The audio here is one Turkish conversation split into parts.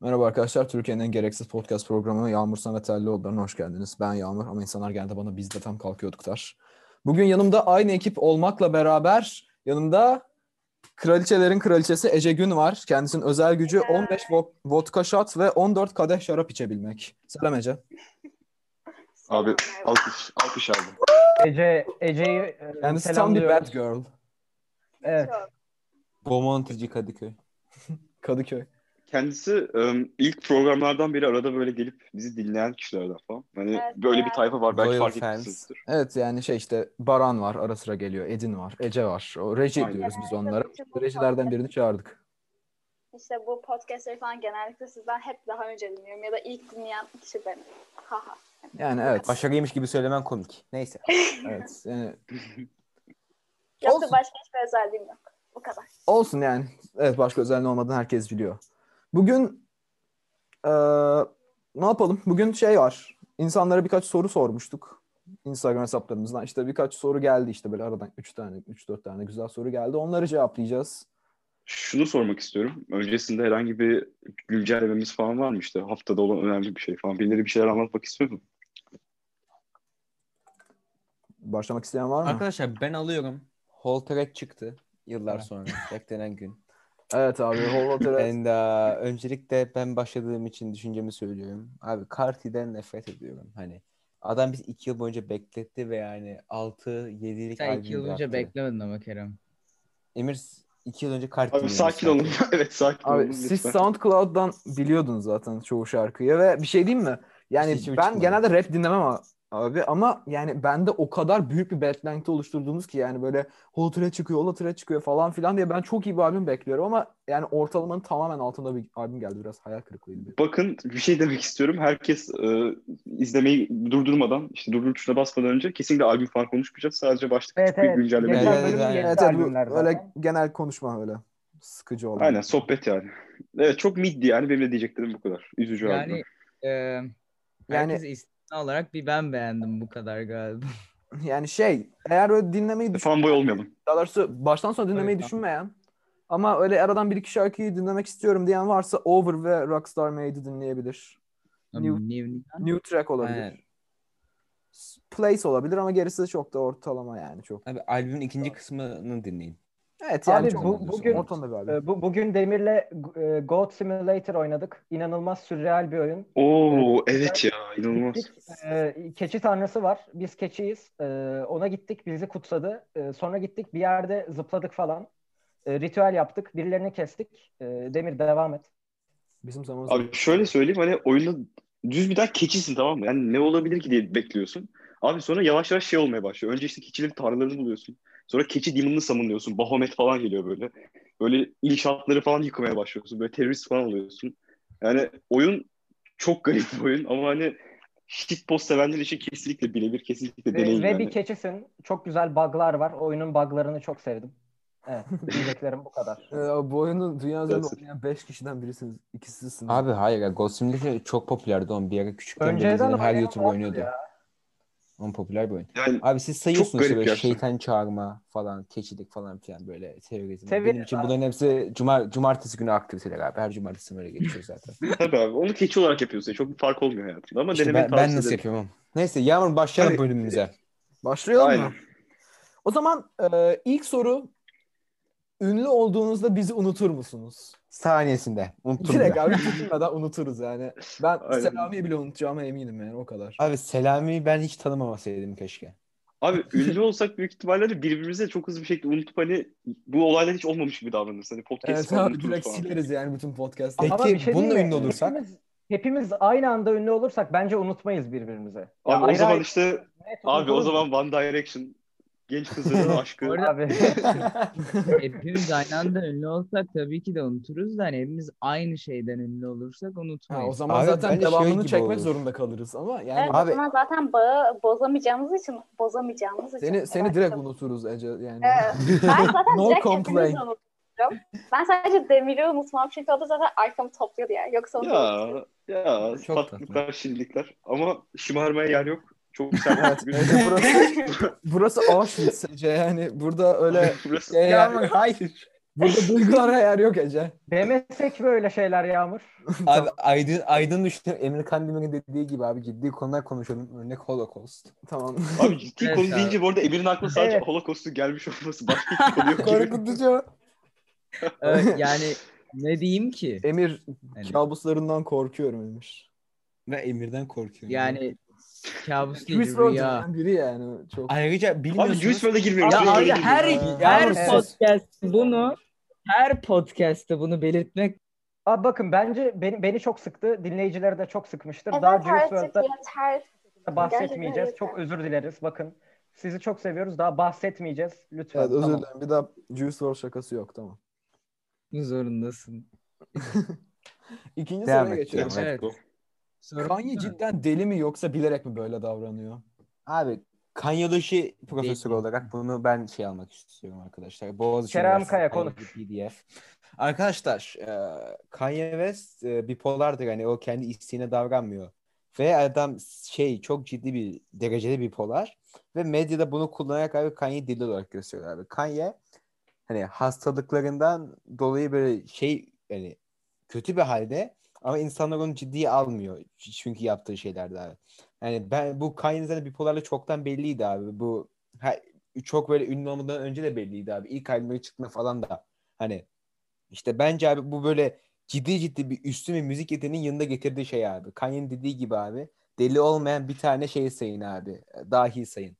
Merhaba arkadaşlar. Türkiye'nin en gereksiz podcast programı Yağmur Samet Terlioğulları'na hoş geldiniz. Ben Yağmur ama insanlar genelde bana biz de tam kalkıyorduk der. Bugün yanımda aynı ekip olmakla beraber yanımda kraliçelerin kraliçesi Ece Gün var. Kendisinin özel gücü 15 vo- vodka shot ve 14 kadeh şarap içebilmek. Selam Ece. Abi alkış, alkış aldım. Ece Ece'yi e, Kendisi tam bir selamlıyoruz. bad girl. Evet. Çok. Bomontici Kadıköy. Kadıköy. Kendisi ım, ilk programlardan beri arada böyle gelip bizi dinleyen kişilerden falan. Hani Evet, böyle bir evet. tayfa var belki Loyal fark fans. etmişsinizdir. Evet yani şey işte Baran var ara sıra geliyor. Edin var. Ece var. O Reji Aynen. diyoruz biz Evet, onlara. tabii ki bu Rejilerden podcast- birini çağırdık. İşte bu podcastleri falan genellikle sizden hep daha önce dinliyorum ya da ilk dinleyen kişi benim. Haha. Yani evet. Başarıymış gibi söylemen komik. Neyse. Evet. Yani Olsun. Yoksa başka hiçbir özelliğim yok. Bu kadar. Olsun yani. Evet başka özelliği olmadığını herkes biliyor. Bugün eee, ne yapalım? Bugün şey var. İnsanlara birkaç soru sormuştuk. Instagram hesaplarımızdan. İşte birkaç soru geldi işte böyle aradan 3 tane, 3-4 tane güzel soru geldi. Onları cevaplayacağız. Şunu sormak istiyorum. Öncesinde herhangi bir güncellememiz falan var mı işte? Haftada olan önemli bir şey falan. Birileri bir şeyler anlatmak istiyor mu? Başlamak isteyen var mı? Arkadaşlar ben alıyorum. Whole track çıktı. Yıllar sonra. Beklenen gün. Evet abi. Holvater'e- And, uh, öncelikle ben başladığım için düşüncemi söylüyorum. Abi Carti'den nefret ediyorum. Hani adam biz iki yıl boyunca bekletti ve yani 6-7'lik Sen iki yıl albümü önce bıraktı. beklemedin ama Kerem. Emir iki yıl önce Carti Abi dinlemiş sakin zaten. olun. evet sakin olun. Abi siz lütfen. SoundCloud'dan biliyordunuz zaten çoğu şarkıyı ve bir şey diyeyim mi? Yani Hiç içim ben çıkmadı. genelde rap dinlemem a- abi ama yani bende o kadar büyük bir beklenti oluşturduğunuz ki yani böyle Holotre çıkıyor, Holotre çıkıyor falan filan diye ben çok iyi bir albüm bekliyorum ama yani ortalamanın tamamen altında bir albüm geldi biraz hayal kırıklığıydı. benim. Bakın bir şey demek istiyorum. Herkes e, izlemeyi durdurmadan, işte durdur tuşuna basmadan önce kesinlikle albüm falan konuşmayacağız. Sadece başlık Evet küçük bir evet. güncelleme. Geçen Evet, yapıyoruz. bölüm evet, yeni Evet, evet bu albümler öyle zaten. genel konuşma öyle sıkıcı olan. Aynen sohbet yani. Evet çok middi yani. Benim de diyeceklerim bu kadar. Üzücü albüm. Yani e, herkes Yani- istisna olarak bir ben beğendim bu kadar galiba. Yani şey eğer öyle E, dinlemeyi düşün Fanboy olmayalım. Daha doğrusu baştan sona dinlemeyi Evet, düşünmeyen ama öyle aradan bir iki şarkıyı dinlemek istiyorum diyen varsa Over ve Rockstar Made'i dinleyebilir. New- New track olabilir. Aynen. Place olabilir ama gerisi çok da ortalama yani çok. Abi albümün ikinci kısmını dinleyin. Evet Abi yani bu- çok bugün- ortamda bir albüm. Ee, bu, bugün Demir'le e, Goat Simulator oynadık. İnanılmaz sürreal bir oyun. Oo evet ya inanılmaz. Gittik, e, keçi tanrısı var. Biz keçiyiz. E, ona gittik bizi kutsadı. E, sonra gittik bir yerde zıpladık falan. E, ritüel yaptık. Birilerini kestik. E, Demir devam et. Bizim zamanımız. Abi şöyle söyleyeyim hani oyunda düz bir tane keçisin tamam mı? Yani ne olabilir ki diye bekliyorsun. Abi sonra yavaş yavaş şey olmaya başlıyor. Önce işte keçilerin tarlalarını buluyorsun. Sonra keçi demonunu samunluyorsun. Bahomet falan geliyor böyle. Böyle inşaatları falan yıkmaya başlıyorsun. Böyle terörist falan oluyorsun. Yani oyun çok garip bir oyun ama hani shitpost sevenler için kesinlikle birebir kesinlikle deneyin Ve, ve yani. bir keçisin. Çok güzel bug'lar var. Oyunun bug'larını çok sevdim. Evet. Diyeceklerim bu kadar. Ee, bu oyunu dünya üzerinde Evet. oynayan 5 kişiden birisiniz. İkisisiniz. Abi hayir ya. Ghost Simulator çok popülerdi oğlum. Bir ara küçükken Önceden Önceden her oynayan YouTuber vardı oynuyordu. ya. Onun popüler bir oyun. Yani Abi siz sayıyorsunuz işte garip böyle gerçekten. şeytan çağırma falan, keçilik falan filan böyle terörizm. Severiz Benim için abi. bunların hepsi cuma, cumartesi günü aktiviteler abi. Her cumartesi böyle geçiyor zaten. tabii abi onu keçi olarak yapıyorsun. Çok bir fark olmuyor hayatında ama İşte denemeyi ben, ben tavsiye nasıl ederim. yapıyorum? oğlum? Neyse Yağmur başlayalım Abi- bölümümüze. Başlayalım mı? Aynen. O zaman e, ilk soru ünlü olduğunuzda bizi unutur musunuz? Saniyesinde. Unuttum Direkt bile. abi düşünmeden unuturuz yani. Ben Aynen. Selami'yi bile unutacağıma eminim yani o kadar. Abi Selami'yi ben hiç tanımamasaydım keşke. Abi ünlü olsak büyük ihtimalle de birbirimize çok hızlı bir şekilde unutup hani bu olaylar hiç olmamış gibi davranırız. Hani podcast Evet falan abi unuturuz direkt falan. sileriz yani bütün podcast'ı. Peki Ama bir şey bununla diyeyim mi? ünlü olursak? Hepimiz, hepimiz aynı anda ünlü olursak bence unutmayız birbirimize. Ya Abi o ayrı şey zaman ayrı- işte Net abi o unuturuz. zaman One Direction genç kızların aşkı. Orada- Abi. E, hepimiz aynı anda ünlü olsak tabii ki de unuturuz da hani hepimiz aynı şeyden ünlü olursak Ha, o unutmayız. zaman Abi zaten bence şey devamını gibi çekmek olur. zorunda kalırız ama yani Evet, Abi- o zaman zaten bağı bozamayacağımız için bozamayacağımız için. seni seni Evet. direkt unuturuz Ece yani. Evet. Ben zaten No direkt complaint. hepinizi unuturum. Ben sadece Demir'i unutmam çünkü o da zaten arkamı topluyordu ya. Yoksa onu da ya ya Çok tatlılıklar şirinlikler ama şımarmaya yer yok. Çok güzel Evet, bir Ece burası burası Auschwitz Ece yani burada öyle burası. şey yani, hayır. Burada duygulara yer yok Ece. Demesek böyle şeyler Yağmur. Abi aydın, aydın düşünüyorum. Emre Kandemir'in dediği gibi abi ciddi konular konuşalım. Örnek Holocaust. Tamam. Abi ciddi Evet konu abi. deyince bu arada Emir'in aklına sadece Evet. Holocaust'un gelmiş olması başka hiçbir konu yok gibi. Korkutucu. Ee, yani ne diyeyim ki? Emir Yani- kabuslarından korkuyorum Emir. Ben Emir'den korkuyorum. Yani kabus değil Chris rüya. Brown'dan biri yani. Çok. Ayrıca bilmiyorsunuz. Abi Juice WRLD'e girmiyoruz. Ya Juice abi WRLD'e her Ya, her evet. podcast bunu her podcast'te bunu belirtmek Abi bakın bence beni, beni çok sıktı. Dinleyicileri de çok sıkmıştır. Evet Daha Juice E, artık WRLD'da yeter. bahsetmeyeceğiz. Gerçekten Çok özür dileriz. Bakın sizi çok seviyoruz. Daha bahsetmeyeceğiz. Lütfen. Evet, özür Tamam. dilerim. Bir daha Juice WRLD şakası yok tamam. zorundasın. İkinci Devam soruya et, geçiyorum. devam et. Evet. Sorun- Kanye cidden deli mi yoksa bilerek mi böyle davranıyor? Abi kanyoloji profesörü Değil. olarak bunu ben şey almak istiyorum arkadaşlar. Boğaziçi Kerem Üniversitesi Kaya kanyoloji konuş. PDF. Arkadaşlar e, Kanye West e, bipolardır. Hani o kendi isteğine davranmıyor. Ve adam şey çok ciddi bir derecede bipolar. Ve medyada bunu kullanarak abi Kanye'yi deli olarak gösteriyorlar. Abi. Kanye hani hastalıklarından dolayı böyle şey hani kötü bir halde ama insanlar onu ciddiye almıyor. Çünkü yaptığı şeylerde abi. Yani ben bu Kanye'nin zaten bipolarla çoktan belliydi abi. Bu ha- çok böyle ünlü olmadan önce de belliydi abi. İlk albümü çıktığında falan da hani işte bence abi bu böyle ciddi ciddi bir üstün bir müzik yeteneğinin yanında getirdiği şey abi. Kanye'nin dediği gibi abi deli olmayan bir tane şey sayın abi. Dahi sayın.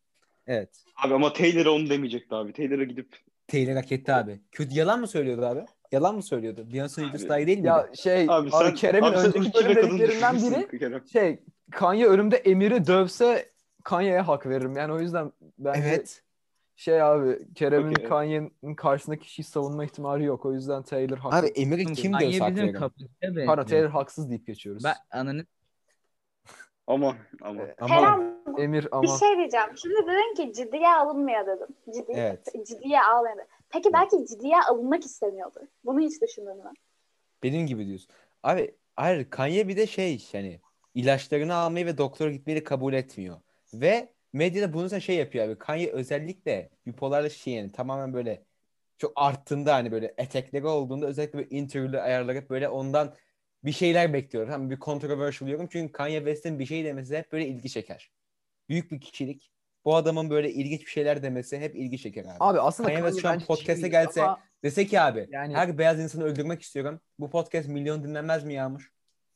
Evet. Abi ama Taylor'a onu demeyecekti abi. Taylor'a gidip Taylor hak etti abi. Kötü yalan mı söylüyordu abi? Yalan mı söylüyordu? Beyoncé Idris Abi- dahi değil miydi? Ya şey abi abi, sen Kerem'in abi sen önceki ırkçı bölüm ve kadın dediklerinden biri düşüncesi Kerem. şey Kanye ölümde Emir'i dövse Kanye'ye hak veririm. Yani o yüzden bence evet. şey abi Kerem'in Okey. Kanye'nin karşısındaki kişiyi savunma ihtimali yok. O yüzden Taylor haklı. Abi Emir'i kim diyor Kanye bizim saklayalım? kapıda be. Pardon Taylor haksız deyip geçiyoruz. E, Ben ananı Ama ama. Ee, Ama Kerem Emir bir ama şey diyeceğim. Şimdi dedin ki ciddiye alınmıyor dedim. Ciddiye, evet. ciddiye alınmıyor. Peki belki ciddiye alınmak istemiyordur. Bunu hiç düşündün mü? Benim gibi diyorsun. Abi hayır Kanye bir de şey yani ilaçlarını almayı ve doktora gitmeyi de kabul etmiyor. Ve medyada bunu da şey yapıyor abi. Kanye özellikle bipolarlı şey yani tamamen böyle çok arttığında hani böyle etekleri olduğunda özellikle böyle interview'leri ayarlayıp böyle ondan bir şeyler bekliyorum. Hani bir controversial diyorum. Çünkü Kanye West'in bir şey demesi hep böyle ilgi çeker. Büyük bir kişilik. Bu adamın böyle ilginç bir şeyler demesi hep ilgi çeker abi. abi aslında Kanye Kanye West şu an bence podcast'e şey değil gelse- ama Dese ki abi Yani- her beyaz insanı öldürmek istiyorum. Bu podcast milyon dinlenmez mi Yağmur?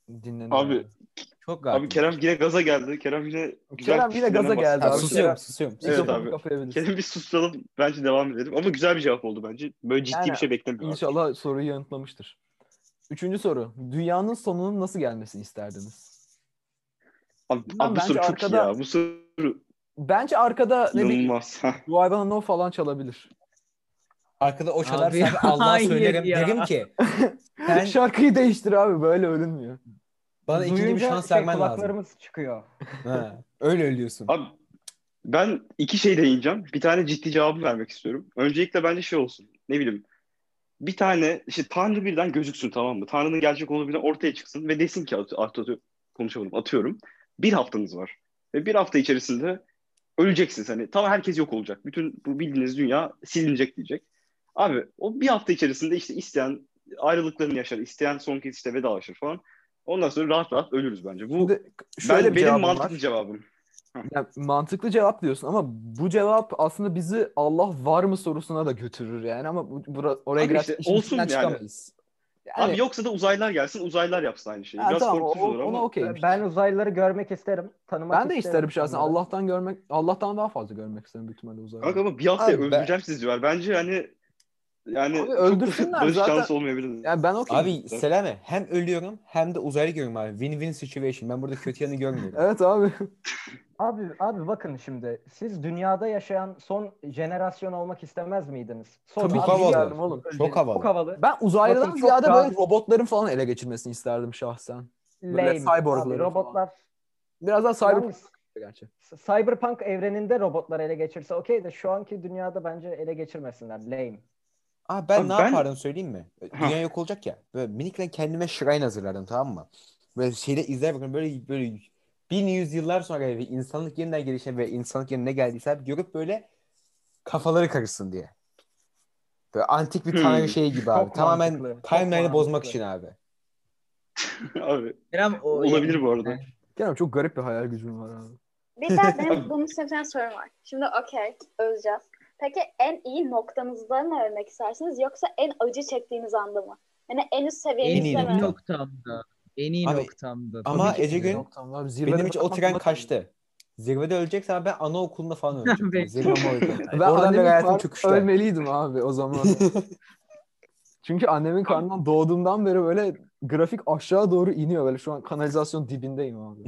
şey- dinlenir. Abi, yani. Çok Abi garip. Kerem yine gaza geldi. Kerem yine güzel Kerem yine gaza fikirlerine geldi Ya abi. bastı. susuyorum Kerem- susuyorum. Evet susuyorum. Mikrofonu abi. kapayabilirsin. Kerem bir susturalım. Bence devam edelim. Ama güzel bir cevap oldu bence. Böyle ciddi Yani, bir şey beklemiyorum. İnşallah soruyu yanıtlamıştır. Üçüncü soru. Dünyanın sonunun nasıl gelmesini isterdiniz? Abi, Bilmem, abi bu bence soru çok iyi arkada- ya. Bu soru Bence arkada ne bileyim inanılmaz. Ha. Do I Wanna Know falan çalabilir. Arkada o çalarsa Abi, abi, Allah'a hayır söylerim. ya. Derim ki sen Şarkıyı değiştir abi böyle ölünmüyor. bana ikinci bir Duyunca şans şey, vermen lazım. kulaklarımız çıkıyor. Ha, öyle ölüyorsun. Abi ben iki şey değineceğim. Bir tane ciddi cevabı vermek istiyorum. Öncelikle bence şey olsun. Ne bileyim. Bir tane işte Tanrı birden gözüksün tamam mı? Tanrı'nın gerçek olduğu birden ortaya çıksın ve desin ki at, at- at- konuşamadım atıyorum. Bir haftanız var. Ve bir hafta içerisinde öleceksiniz. Hani tam herkes yok olacak. Bütün bu bildiğiniz dünya silinecek diyecek. Abi o bir hafta içerisinde işte isteyen ayrılıklarını yaşar. isteyen son kez işte vedalaşır falan. Ondan sonra rahat rahat ölürüz bence. Bu Şimdi ben- şöyle bir benim cevabım mantıklı var. cevabım. Ya, mantıklı cevap diyorsun ama bu cevap aslında bizi Allah var mı sorusuna da götürür yani ama bu, bura- oraya Abi biraz işte işin olsun içinden yani. çıkamayız. Abi yoksa da uzaylar gelsin, uzaylar yapsın aynı şeyi. Ha, Biraz tamam, korkutucu o- olur ama ona okeyim. Ee, Ben uzaylıları görmek isterim. Tanımak Ben de isterim şahsen. onları. Allah'tan görmek, Allah'tan daha fazla görmek isterim büyük ihtimalle uzaylı. kanka ama bir haftaya Abi ben- öldüreceğim sizi diyorlar. Bence hani yani Abi çok öldürsünler barış zaten. şansı olmayabilir. Yani ben okeyim. Abi Selame hem ölüyorum hem de uzaylı görüyorum abi. Win-win situation. Ben burada kötü yanı görmüyorum. Evet abi. Abi abi bakın şimdi siz dünyada yaşayan son jenerasyon olmak istemez miydiniz? Son Tabii Çok ki abi havalı. isterdim oğlum. Çok havalı. Çok havalı. Ben uzaylıdan Bakın çok ziyade daha- böyle robotların falan ele geçirmesini isterdim şahsen. Böyle Lame. cyborgları Abi robotlar. Biraz daha cyber Yalnız gerçi. Cyberpunk evreninde robotlar ele geçirse okey de şu anki dünyada bence ele geçirmesinler. Lame. Abi Ah, ben Abi ne ben- yapardım söyleyeyim mi? Dünya yok olacak ya. Böyle minikten kendime shrine hazırlardım tamam mı? Böyle şeyde izler bakın böyle böyle bin yüzyıllar sonra ve insanlık yeniden gelişen ve insanlık yerine ne geldiyse hep görüp böyle kafaları karışsın diye. Böyle antik bir tanrı Hmm. şeyi gibi abi. Çok Tamamen mantıklı, çok timeline'ı bozmak mantıklı. için abi. Abi Kerem o olabilir bu arada. Kerem çok garip bir hayal gücüm var abi. Bir daha benim bunun için bir tane sorum var. Şimdi okey, öleceğiz. Peki en iyi noktanızda mı ölmek istersiniz yoksa en acı çektiğiniz anda mı? Yani en üst en En seviyenizde iyi iyi mi? nokta. noktamda. En iyi Abi, noktamda. ama Tabii ki. Ece Gün, Benim hiç o tren kaçtı. Zirvede öleceksem ben anaokulunda falan öleceğim. Belki. Zirvem oydu. Ben Oradan beri annemin hayatım karn- çöküşte. Ölmeliydim abi o zaman. Çünkü annemin karnından doğduğumdan beri böyle grafik aşağı doğru iniyor. Böyle şu an kanalizasyon dibindeyim abi.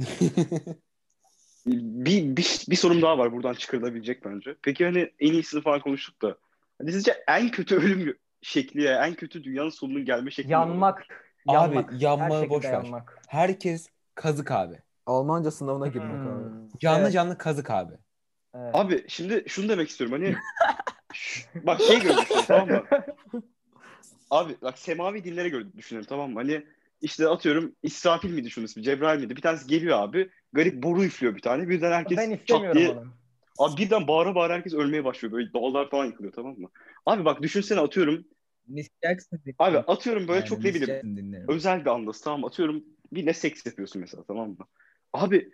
Bir, bir, bir sorum daha var buradan çıkarılabilecek bence. Peki hani en iyisini falan konuştuk da. Hani sizce en kötü ölüm şekli, yani en kötü dünyanın sonunun gelme şekli. ne olur? Yanmak. Abi, yanmak. yanmayı Her şekilde boş ver. yanmak. Herkes kazık abi. Almanca sınavına girmek abi. Hmm, Canlı evet, canlı kazık abi. evet. Abi şimdi şunu demek istiyorum hani Şş, bak şey gördük şimdi, tamam mı? Abi bak semavi dinlere göre düşünelim tamam mı? Hani işte atıyorum İsrafil miydi şunun ismi? Cebrail miydi? Bir tanesi geliyor abi. Garip boru üflüyor bir tane. Birden herkes ben çat istemiyorum diye onu. Abi birden bağıra bağıra herkes ölmeye başlıyor. Böyle dağlar falan yıkılıyor tamam mı? Abi bak düşünsene atıyorum. Miss Jackson Abi dinlerim. atıyorum böyle Yani çok ne Miss bileyim Jackson dinlerim. özel bir andası tamam mı? atıyorum birine seks yapıyorsun mesela tamam mı? Abi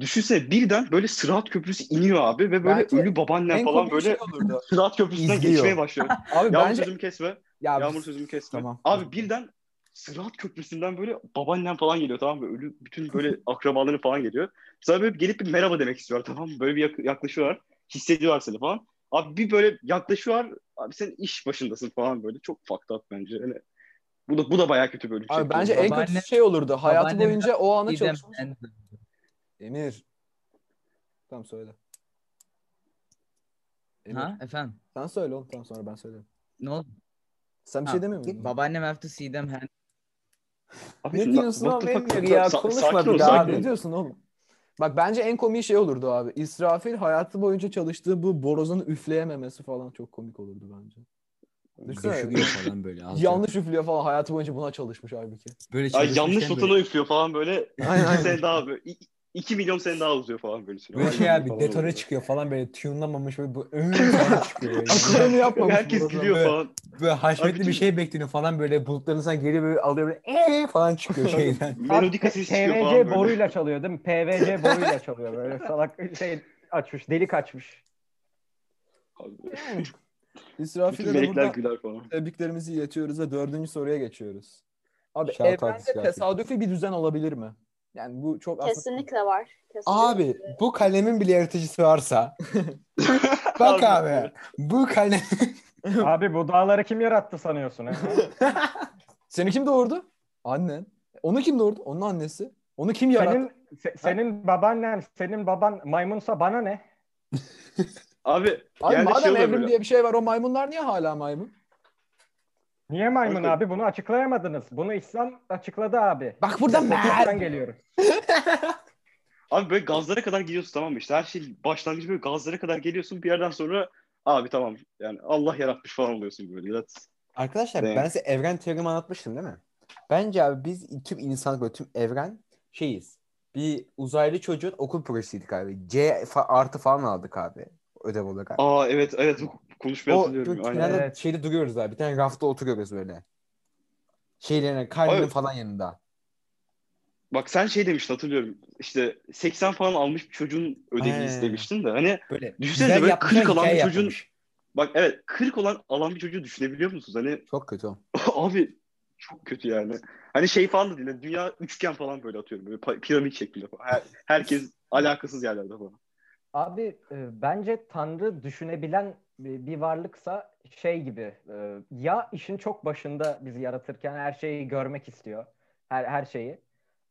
düşünsene birden böyle Sırat Köprüsü iniyor abi ve böyle Bence ölü babaannem en falan komik böyle şey olurdu. Sırat Köprüsü'nden İzliyor. geçmeye başlıyor. Abi Yağmur bence sözümü kesme. ya Yağmur biz- sözümü kesme. Tamam. Abi birden Sırat Köprüsü'nden böyle babaannem falan geliyor tamam mı? Ölü bütün böyle akrabaları falan geliyor. Sana böyle gelip bir merhaba demek istiyorlar tamam mı? Böyle bir yak- yaklaşıyorlar. Hissediyorlar seni falan. Abi bir böyle yaklaşıyorlar. Abi sen iş başındasın falan böyle. Çok fucked up bence. Yani bu da bu da bayağı kötü bölüm. Abi şekli. bence en Babaanne- kötü şey olurdu. Hayatı babaannem- boyunca o ana Didem çalışmış. Hanson. Emir. Tamam söyle. Emir. Ha efendim. Sen söyle oğlum tamam sonra ben söyleyeyim. Ne oldu? Sen bir Ha, şey demiyor musun? Babaannem have to see them hand. Abi Ne la- diyorsun what oğlum the fuck? Emir ya Sa- konuşmadık sakin ol, ya. sakin Ne ol. diyorsun oğlum? Bak bence en komik şey olurdu abi. İsrafil hayatı boyunca çalıştığı bu borozunu üfleyememesi falan çok komik olurdu bence. Düşünsene. Göşürüyor falan böyle. alçak. Yanlış üflüyor falan hayatı boyunca buna çalışmış halbuki. Böyle Ay, çalışmışken yanlış böyle- notunu üflüyor falan böyle. Aynen, Aynen. aynen. Sen daha böyle. 2 milyon sene daha uzuyor falan böyle. Böyle Aynen şey abi falan detone oluyor. çıkıyor falan böyle tune'lamamış böyle bu ön falan çıkıyor. Böyle, Akılını yapmamış. Herkes borozunu. gülüyor böyle. falan. böyle haşmetli Abi, bir şey bekliyor falan böyle bulutların sana geliyor böyle alıyor böyle eee falan çıkıyor şeyden. Melodika sesi çıkıyor falan PVC böyle. boruyla çalıyor değil mi? PVC boruyla çalıyor böyle salak şey açmış, delik açmış. Abi, İsrafil'e Bütün de melekler buradan güler falan. tebriklerimizi iletiyoruz ve dördüncü soruya geçiyoruz. Abi Şarkı alkış evrende yapıyor. tesadüfi bir düzen olabilir mi? Yani bu çok aslında... Kesinlikle var. Kesinlikle. Abi bu kalemin bile yaratıcısı varsa bak abi bu kalem Abi bu dağları kim yarattı sanıyorsun? He? Seni kim doğurdu? Annen. Onu kim doğurdu? Onun annesi. Onu kim yarattı? senin se- senin babaannen, senin baban maymunsa bana ne? Abi, Abi yani şey madem oluyor evrim böyle. diye bir şey var o maymunlar niye hala maymun? Niye maymun Kanka- abi? Bunu açıklayamadınız. Bunu İslam açıkladı abi. Bak burada Sokaktan mer. geliyoruz. Abi böyle gazlara kadar gidiyorsun tamam mı? İşte her şey başlangıcı böyle gazlara kadar geliyorsun. Bir yerden sonra abi tamam yani Allah yaratmış falan oluyorsun böyle. That's... Arkadaşlar Evet. ben size evren teorimi anlatmıştım değil mi? Bence abi biz tüm insanlık böyle tüm evren şeyiz. Bir uzaylı çocuğun okul projesiydik abi. C fa- artı falan aldık abi ödev olarak. Aa evet evet bu konuşmayı o hatırlıyorum. bir Aynen. kenarda Evet. şeyde duruyoruz abi. Bir tane rafta oturuyoruz böyle. Şeylerine karnenin Abi- falan yanında. Bak sen şey demiştin hatırlıyorum. İşte 80 falan almış bir çocuğun ödevini Aynen. istemiştin de hani Böyle Düşünsene güzel böyle yapmışlar, kırık olan hikaye bir çocuğun- yapmış. bak evet 40 olan alan bir çocuğu düşünebiliyor musunuz? Hani Çok kötü. o. abi çok kötü yani. Hani şey falan da değil. hani Dünya üçgen falan böyle atıyorum. Böyle pa- piramit şeklinde falan. Her- herkes alakasız yerlerde falan. Abi e, bence Tanrı düşünebilen e, bir bir varlıksa şey gibi e, ya işin çok başında bizi yaratırken her şeyi görmek istiyor. Her, her şeyi.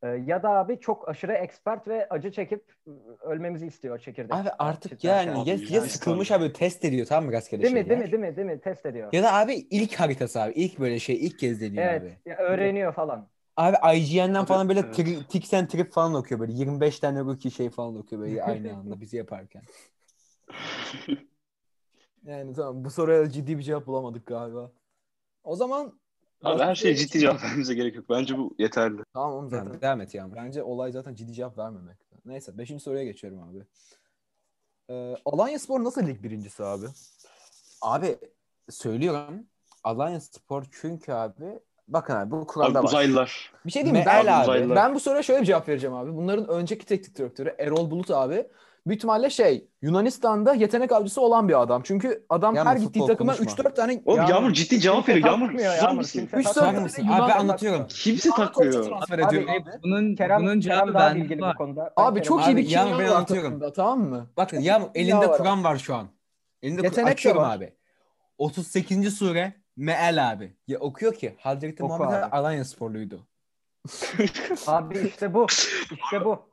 E, ya da abi çok aşırı expert ve acı çekip e, ölmemiz istiyor çekirdek. Abi artık çizerken. yani Abi ya, ya şey yani. sıkılmış abi test ediyor tamam mı rastgele Değil mi? şeyler. Değil mi? Değil mi? Değil mi? Test ediyor. Ya da abi ilk haritası abi. ilk böyle şey ilk kez deniyor evet. abi. ya öğreniyor falan. Abi IGN'den Abi, falan böyle evet. tri, Tix'ten trip falan okuyor böyle. 25 tane rookie şey falan okuyor böyle aynı anda bizi yaparken. Yani tamam bu soruya ciddi bir cevap bulamadık galiba. O zaman Abi Başka her şeye şey- ciddi cevap vermemize gerek yok. Bence bu yeterli. tamam oğlum zaten. Tamam, devam et Yağmur. Bence olay zaten ciddi cevap vermemek. Neyse 5. soruya geçiyorum abi. Ee, Alanya Spor nasıl lig birincisi abi? Abi söylüyorum. Alanya Spor çünkü abi bakın abi bu Abi kuralda var. uzaylılar. Bir şey diyeyim mi? Meğer Bel abi. uzaylılar. Ben bu soruya şöyle bir cevap vereceğim abi. Bunların önceki teknik direktörü Erol Bulut abi. Büyük ihtimalle şey Yunanistan'da yetenek avcısı olan bir adam. Çünkü adam Yağmur, her gittiği futbol takıma konuşma. 3-4 tane Oğlum Yağmur, Yağmur, ciddi cevap kimse veriyor. Yağmur takmıyor şey susar Yağmur, mısın? kimse Üç takmıyor. takım mısın? Yunan Abi ben takımı- anlatıyorum. Kimse takmıyor. transfer Abi, ediyor abi. Bunun, Kerem, bunun Kerem cevabı daha bende bilgili var. bu konuda. Ben Abi çok Kerem'e- iyi bir Abi, Yağmur, kimya ben var anlatıyorum. takımda tamam mı? Bakın Yağmur bir elinde daha var Kur'an var şu an. Elinde Yetenek Kur'an. de Açıyorum var. abi. 38. sure Meal abi. Ya okuyor ki Hazreti Oku Muhammed abi. Alanya sporluydu. Abi işte bu. İşte bu.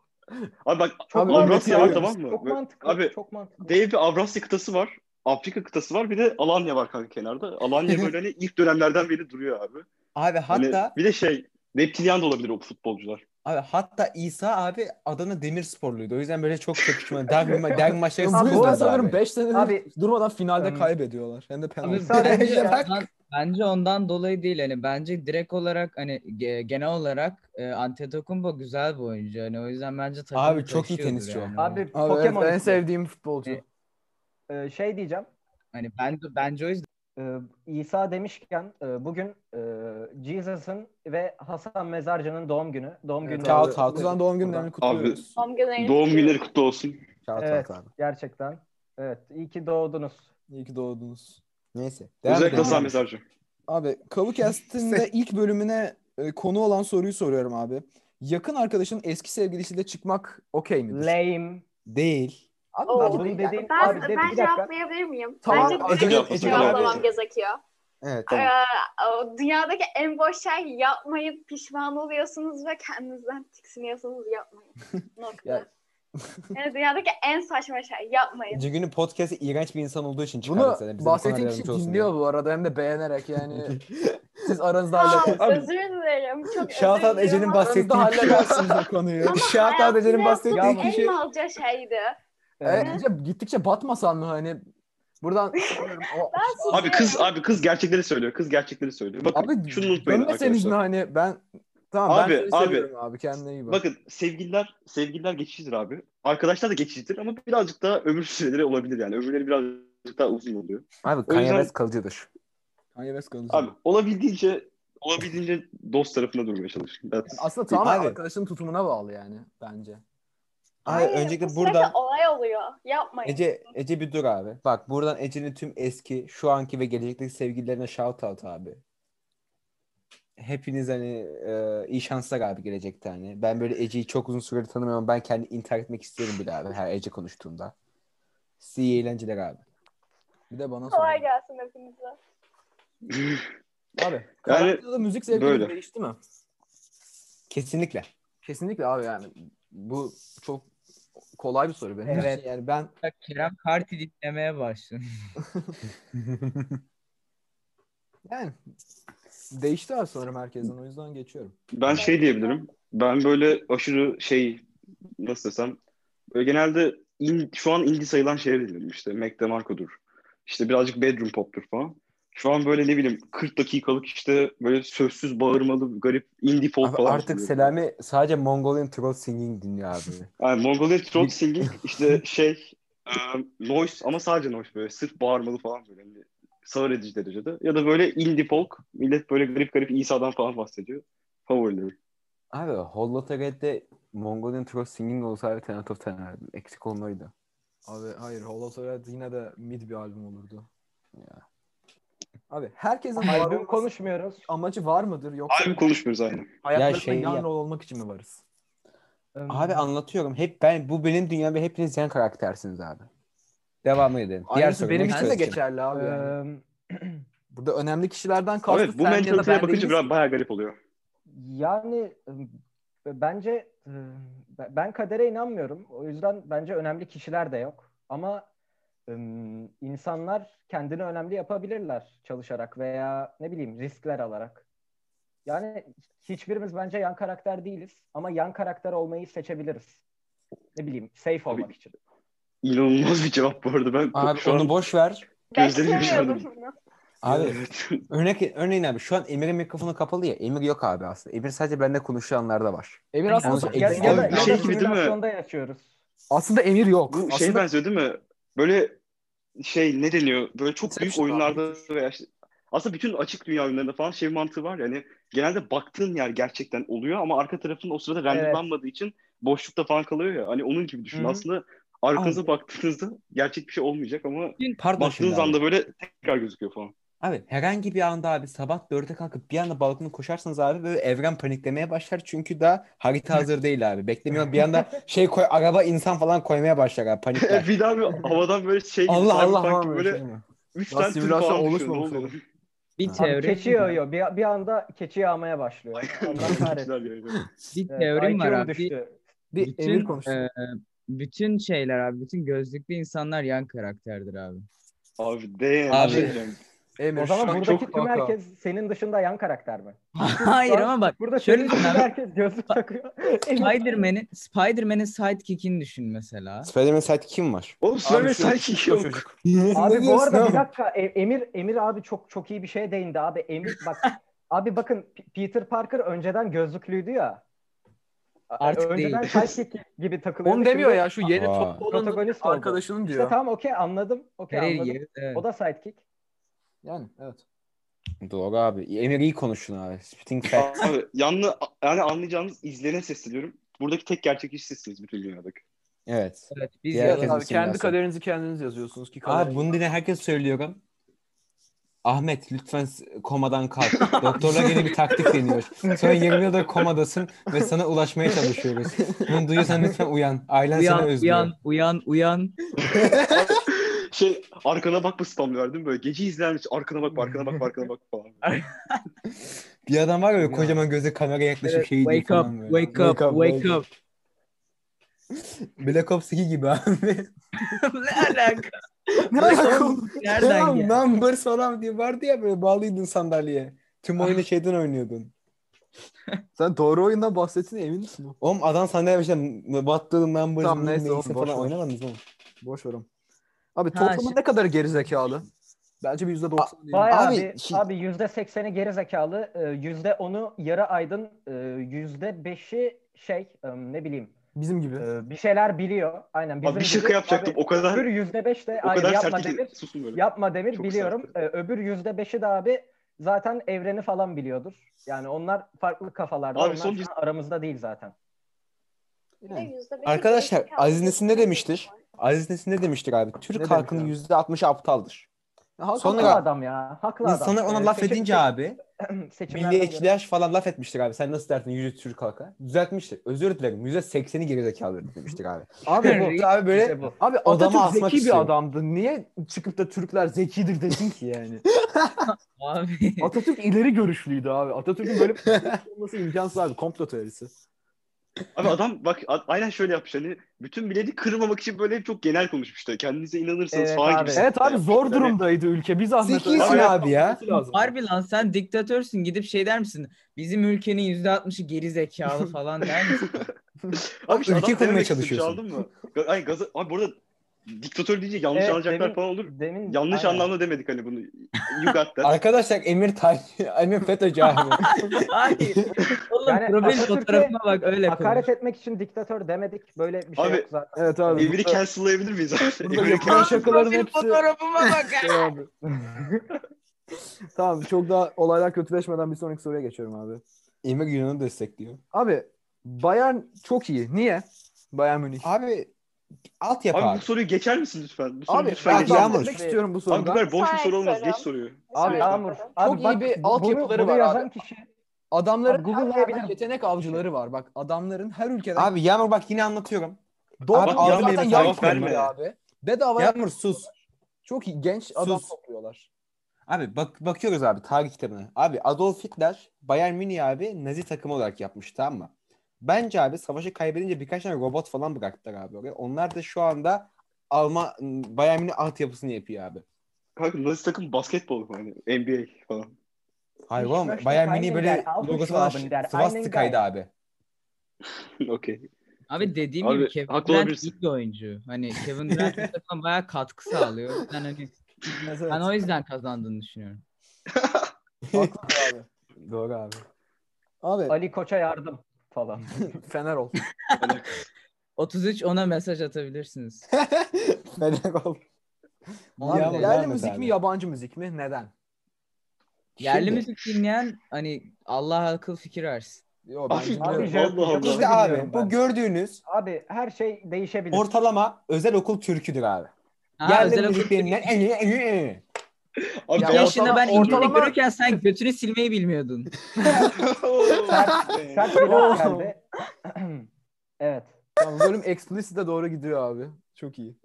Abi bak Çok Abi, mantıklı. Avrasya var Avrasya- tamam mı? Çok Böyle- mantıklı. Abi çok mantıklı. dev bir Avrasya kıtası var. Afrika kıtası var. Bir de Alanya var kanka kenarda. Alanya böyle hani ilk dönemlerden beri duruyor abi. Abi Hani hatta bir de şey reptilyan da olabilir o futbolcular. abi hatta İsa abi Adana Demirsporluydu. O yüzden böyle çok çakışma. derbi, ma- derbi maçları Bu yüzden sıkılmaz sanırım abi. 5 senedir Abi- durmadan finalde Tamam. kaybediyorlar. Hem de penaltı. İsa bence- İşte bak. ondan- bence ondan dolayı değil hani bence direkt olarak hani ge- genel olarak e, Antetokounmpo güzel bir oyuncu. Hani o yüzden bence takımı Abi çok iyi taşıyordur tenisçi o. yani. Abi, Abi, evet, Pokemon en ismi. sevdiğim futbolcu. Evet. Ee, şey diyeceğim. Hani ben bence o yüzden Ee, İsa demişken e, bugün e, Jesus'ın ve Hasan Mezarcı'nın doğum günü. Doğum Evet, günü. Kağıt abi. halkı. Buradan doğum günlerini kutluyoruz. Doğum günleri. Doğum günleri kutlu olsun. Şahit Evet, abi. gerçekten. Evet, iyi ki doğdunuz. İyi ki doğdunuz. Neyse. Devam Özellikle edelim Hasan abi. Mezarcı. Abi Kavukast'ın da ilk bölümüne e, konu olan soruyu soruyorum abi. Yakın arkadaşın eski sevgilisiyle çıkmak okey midir? Lame. Değil. Abi Oo. bence Bunun değil. dediğin- Ben, Abi, de- bir ben dakika. cevaplayabilir miyim? Tamam, Bence Ecem- direkt Ecem cevaplamam abi. gerekiyor. Evet. Ee, o dünyadaki en boş şey yapmayıp pişman oluyorsunuz ve kendinizden tiksiniyorsunuz yapmayın. Nokta. Ya- yani dünyadaki en saçma şey yapmayın. Cigün'ün podcast'ı iğrenç bir insan olduğu için çıkardık Bunu zaten. Bize bu konuda bahsettiğim kişi yardımcı olsun diye. dinliyor bu arada hem de beğenerek yani. Siz aranızda Aa, halledersiniz. Abi- özür dilerim. Çok Şahatan özür dilerim Ece'nin ama bahsettiği- Aranızda halledersiniz bu konuyu. Şahit abi hayatımda Ece'nin bahsettiği yaptığım kişi. en malca şeydi. Evet, Ee, Ece, gittikçe batmasan mı hani? Buradan O- Abi kız abi kız gerçekleri söylüyor. Kız gerçekleri söylüyor. Bakın abi şunu unutmayın dönmeseniz mi arkadaşlar. hani ben tamam Abi, ben seni abi. seviyorum abi kendine iyi bak. Bakın sevgililer sevgililer geçicidir abi. Arkadaşlar da geçicidir ama birazcık daha ömür süreleri olabilir yani. Ömürleri birazcık daha uzun oluyor. Abi Kanye Kanye yüzden- West West kalıcıdır. Kanye West kalıcı. Abi olabildiğince olabildiğince dost tarafında durmaya çalışın. That's- Aslında tamamen Abi. arkadaşın tutumuna bağlı yani bence. Abi Hayır, bu öncelikle sürekli buradan olay oluyor. Yapmayın. Ece Ece bir dur abi. Bak buradan Ece'nin tüm eski, şu anki ve gelecekteki sevgililerine shout out abi. Hepiniz hani e, iyi şanslar abi gelecekte hani. Ben böyle Ece'yi çok uzun süredir tanımıyorum. Ben kendi intihar etmek istiyorum bile abi her Ece konuştuğumda. Size iyi eğlenceler abi. Bir de bana sor. Kolay gelsin hepinize. Abi karantinada müzik zevkleri böyle. değişti mi? Kesinlikle. Kesinlikle abi yani bu çok kolay bir soru benim. için. Evet. şey Yani ben Kerem Karti dinlemeye başladı. yani değişti abi sanırım herkesin o yüzden geçiyorum. Ben şey diyebilirim. Ben böyle aşırı şey nasıl desem böyle genelde in- şu an indie sayılan şeyler dinliyorum işte. Mac DeMarco'dur. İşte birazcık bedroom pop'tur falan. Şu an böyle ne bileyim 40 dakikalık işte böyle sözsüz bağırmalı garip indie folk Abi falan. artık dinliyorum. Selami sadece Mongolian Troll Singing dinliyor abi. Yani Mongolian Throat Singing işte şey e, noise ama sadece noise böyle sırf bağırmalı falan böyle. Yani sağır edici derecede. Ya da böyle indie folk millet böyle garip garip İsa'dan falan bahsediyor. Favorilerim. Abi Hollota Red'de Mongolian Troll Singing olsa abi 10 out of 10 abi. Eksik olmalıydı. Abi hayır Hollow Red yine de mid bir albüm olurdu. Ya. Abi herkesin Ee, albüm albüm konuş konuşmuyoruz. amacı var mıdır yoksa Abi konuşmuyoruz aynen. hayatlarında şey yan ya- rol olmak için mi varız? Ee, Abi anlatıyorum. Hep ben bu benim dünyam ve hepiniz yan karaktersiniz abi. Devam edelim. Diğer Aynısı soru. benim Next için de question. geçerli abi. yani. Ee, Burada önemli kişilerden kastı Abi sen bu ya da mentaliteye ben bakınca değiliz. biraz bayağı garip oluyor. Yani e, bence e, be- ben kadere inanmıyorum. O yüzden bence önemli kişiler de yok. Ama e, insanlar kendini önemli yapabilirler çalışarak veya ne bileyim riskler alarak. Yani hiçbirimiz bence yan karakter değiliz ama yan karakter olmayı seçebiliriz. Ne bileyim safe olmak için. İnanılmaz bir cevap bu arada. Ben Abi şu onu an boş ver. gözlerimi Beklemiyordum yaşardım. bunu. Abi örnek örneğin abi şu an Emir'in mikrofonu kapalı ya. Emir yok abi aslında. Emir sadece bende konuşanlarda var. Emir Yani aslında yalnız- Ya, Abi, ya da, bir ya şey da gibi değil mi? simülasyonda yaşıyoruz. aslında Emir yok. bu şey aslında benziyor değil mi? Böyle şey ne deniyor? Böyle çok büyük Inception abi, oyunlarda bitir. veya işte, Aslında bütün açık dünya oyunlarında falan şey mantığı var ya hani genelde baktığın yer gerçekten oluyor ama arka tarafın o sırada renderlanmadığı için boşlukta falan kalıyor ya. Hani onun gibi düşün. Hı hı. Aslında arkanıza Abi. baktığınızda gerçek bir şey olmayacak ama Pardon baktığınız şimdi abi. anda böyle tekrar gözüküyor falan. Abi herhangi bir anda abi sabah 4'e kalkıp bir anda balkona koşarsanız abi böyle evren paniklemeye başlar. Çünkü daha harita hazır değil abi. Beklemiyor. Bir anda şey koy araba insan falan koymaya başlar abi panikler. E, bir daha bir havadan böyle şey gibi Allah Allah Cyberpunk var gibi mı böyle şey mi? 3 Lan tane tır simülasyon falan düşüyor. oluşmamış Ne oluyor? oğlum. Bir Abi Abi teori keçi yağıyor. Bir, bir anda keçi yağmaya başlıyor. Allah kahretsin. Güzel yani. bir Evet, teorim var IQ'm abi. düştü. Bir Bütün, Emir konuşsun. e, bütün şeyler abi, bütün gözlüklü insanlar yan karakterdir abi. Abi de Abi. Emir O şu an zaman buradaki çok tüm kaka. herkes senin dışında yan karakter mi? Hayır Lan, ama bak Burada şöyle senin düşün dışında abi. herkes gözlük takıyor. Spider-Man'in Spider-Man'in sidekick'ini düşün mesela. Spider-Man Side kim var? Oğlum Abi Spider-Man şu- sanki şu yok. çocuk. Abi Ne bu diyorsun arada bir oğlum? dakika E- Emir Emir abi çok çok iyi bir şeye değindi abi. Emir bak abi bakın P- Peter Parker önceden gözlüklüydü ya. Artık önceden değil. sidekick gibi takılıyordu. Onu demiyor Şimdi ya şu yeni Aa. toplu olanın Protagonist oldu. arkadaşının İşte diyor. tamam okey anladım. Okey Her anladım. yeri. Evet. O da sidekick. Yani evet. Doğru abi. Emir iyi konuşun abi. Spitting fact. Abi, yanlı, yani anlayacağınız izlene sesleniyorum. Buradaki tek gerçek iş sizsiniz bütün dünyadaki. Evet. Evet, biz Diğer yalan- herkes- Abi, kendi simülasyon. kaderinizi kendiniz yazıyorsunuz ki kader. Abi bunu yine herkes söylüyorum. Ahmet lütfen s- komadan kalk. Doktorlar yeni bir taktik deniyor. Sonra 20 yıldır komadasın ve sana ulaşmaya çalışıyoruz. Bunu duyuyorsan lütfen uyan. Ailen seni Uyan, özlüyor. uyan, uyan, uyan. Şey arkana bakma spamlıyor değil mi? Böyle gece izlenmiş arkana bakma arkana bakma arkana bakma falan. Bir adam var ya böyle kocaman gözü kameraya yaklaşıp Evet, şey diyor wake up, falan böyle. wake up, wake up. Black Ops 2 gibi abi. ne alaka? ne alaka oğlum? Nereden Tamam, geldi? numbers falan diye vardı ya böyle bağlıydın sandalyeye. Tüm Ah. oyunu şeyden oynuyordun. Sen doğru oyundan bahsettiğine emin misin? Oğlum adam sandalyeye başladı. Battığın numbers Tamam, neyse, neyse oğlum, boş ver. falan oynamadınız oğlum. Boş verim. Abi Ha, toplumun şey- ne kadar gerizekalı? Bence bir yüzde doksan değil. Bayağı Abi, abi, şimdi- abi %80'i geri zekalı, e, %10'u yarı aydın, e, %5'i şey e, ne bileyim Bizim gibi. e, bir şeyler biliyor. Aynen bizim Abi bir gibi. şaka yapacaktım Abi, o kadar Öbür %5 de o hayır, kadar yapma sert demir. ki susun böyle. Yapma demir Çok biliyorum. Ee, öbür yüzde beşi de abi zaten evreni falan biliyordur. Yani onlar farklı kafalarda. Abi onlar son şu yüz- an aramızda değil zaten. Bir de yüzde beş Arkadaşlar, gerizekalı Aziz Nesin ne bir demiştir? Aziz Nesin ne demiştir abi? Ne Türk demiş halkının abi? %60'ı aptaldır. Ya, haklı. Sonra- Haklı adam ya. Haklı adam. İnsanlar ona Ee, laf seçim- edince se- abi seçimlerden göre- milliyetçiler falan laf etmiştir abi. Sen nasıl dersin yüzde Türk halka? Düzeltmiştir. Özür dilerim. Yüzde sekseni gerizekalıdır demiştir abi. abi Bu abi böyle İşte bu. Abi Odama Atatürk asmak zeki bir istiyorum. adamdı. Niye çıkıp da Türkler zekidir dedin ki yani? Abi. Atatürk ileri görüşlüydü abi. Atatürk'ün böyle bir şey olması imkansız abi. Komplo teorisi. Abi adam bak a- aynen şöyle yapmış hani bütün bileti kırmamak için böyle çok genel konuşmuşlar. Kendinize inanırsanız Evet falan abi. gibi. Evet abi zor Yani- durumdaydı ülke. Biz Ahmet Zekisin öyle- abi ya. Olması lazım. Harbi lan sen diktatörsün gidip şey der misin? Bizim ülkenin %60'ı geri zekalı falan der misin? Abi işte Ülke adam kurmaya denemek istemiş, çalışıyorsun. Aldın mı? Ga- Ay gaza abi burada diktatör deyince yanlış Evet, alacaklar demin- falan olur. Demin Yanlış Aynen. anlamda demedik hani bunu. You got that. Arkadaşlar Emir Tay, Emir FETÖ'cü abi. Hayır. Oğlum Yani profil Atatürk'e fotoğrafına bak öyle konuş. Hakaret etmek için diktatör demedik. Böyle bir şey Abi, yok zaten. Evet abi. Evini burada- cancel'layabilir miyiz abi? Burada Evini yapılan şakaların Profil hepsi fotoğrafıma bak. şey abi. tamam çok daha olaylar kötüleşmeden bir sonraki soruya geçiyorum abi. Emir Yunan'ı destekliyor. Abi Bayern çok iyi. Niye? Bayern Münih. Abi altyapı Abi, abi. bu soruyu geçer misin lütfen? Bu soruyu Abi lütfen ben geçer Yağmur. devam misin? etmek istiyorum bu Abi bu soruda. kadar boş bir soru olmaz. Soru. Geç soruyu. Abi, Soru. Yağmur. Çok Abi iyi bak, bir bunu- altyapıları bunu var yazan abi. kişi Adamların Abi her Google'layabilirim. yerden yetenek avcıları var. Bak adamların her ülkeden Abi Yağmur bak yine anlatıyorum. Doğru. Abi, Abi, yardım zaten elimi yan cevap verme verme. abi. Bedava Yağmur sus. çok iyi genç adam Sus. topluyorlar. Abi bak bakıyoruz abi tarih kitabına. Abi Adolf Hitler Bayern Münih abi Nazi takımı olarak yapmış tamam mı? Bence abi savaşı kaybedince birkaç tane robot falan bıraktılar abi oraya. Onlar da şu anda Alman Bayern Münih altyapısını yapıyor abi. Kanka nasıl takım basketbol hani NBA falan. Hayır Ich oğlum möchte Bayern keinen Münih der böyle Autos logosu falan haben, der einen svastikaydı der- abi. Okey. Abi dediğim Abi, gibi Kevin haklı Durant olabilirsin. iyi bir oyuncu. Hani Kevin Durant bu takıma bayağı katkı sağlıyor. O yüzden hani ben o yüzden kazandığını düşünüyorum. Haklı abi. Doğru abi. Abi Ali Koç'a yardım falan. Fener ol. 33 ona mesaj atabilirsiniz. Melek ol. Abi, Yağmur, yerli devam et müzik abi. mi yabancı müzik mi? Neden? Yerli Şimdi- müzik dinleyen hani Allah akıl fikir versin. Yo, ben Abi, bilmiyorum. Abi, abi, Jack- Allah Jack- Allah. İşte abi bilmiyorum bu ben. gördüğünüz Abi her şey değişebilir. ortalama özel okul türküdür abi. Ha, Yerli özel müzik okul- dinleyen en iyi en iyi en iyi. Abi Ya ben- yaşında ben ortalama- İngilizce görürken sen götünü silmeyi bilmiyordun. Sert bir laf geldi. evet. Tamam, bölüm explicit'e doğru gidiyor abi. Çok iyi.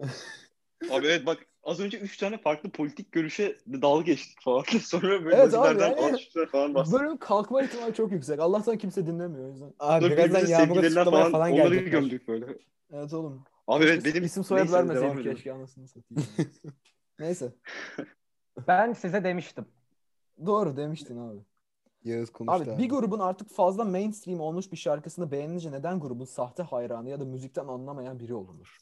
Abi evet bak az önce 3 tane farklı politik görüşe de dalga geçtik falan. Sonra böyle Evet abi, nazilerden yani- anlaşmışlar falan bahsettik. Bölüm kalkma ihtimali çok yüksek. Allah'tan kimse dinlemiyor o yüzden. Abi Sonra birazdan birbirimizin yağmura sevgililerinden tutamaya falan, falan onları geldik. gömdük böyle. Evet oğlum. Abi evet benim isim soyad Neyse, devam vermeseydik edelim. keşke anasını satayım. ya. Neyse. Ben size demiştim. Doğru demiştin abi. Yağız konuştu Abi bir grubun artık fazla mainstream olmuş bir şarkısını beğenince neden grubun sahte hayranı ya da müzikten anlamayan biri olunur?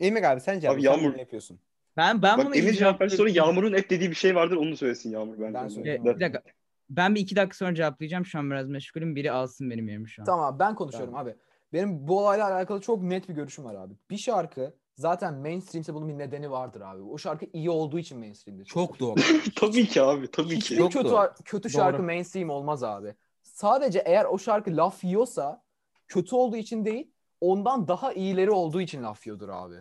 Emir abi sence abi, Abi sen Yağmur- ne yapıyorsun? Ben ben Bak bunu Emir izleyeceğim. cevap verse sonra Yağmur'un hep dediği bir şey vardır onu söylesin Yağmur bence. Ben Yani. söyleyeyim. E, Bir dakika. Ben bir iki dakika sonra cevaplayacağım. Şu an biraz meşgulüm. Biri alsın benim yerimi şu an. Tamam ben konuşuyorum abi. Benim bu olayla alakalı çok net bir görüşüm var abi. Bir şarkı zaten mainstreamse bunun bir nedeni vardır abi. O şarkı iyi olduğu için mainstreamdir. Çok doğru. tabii ki abi tabii ki. Hiçbir Yok kötü doğru. kötü şarkı Doğru. mainstream olmaz abi. Sadece eğer o şarkı laf yiyorsa kötü olduğu için değil, ondan daha iyileri olduğu için laf yiyordur abi.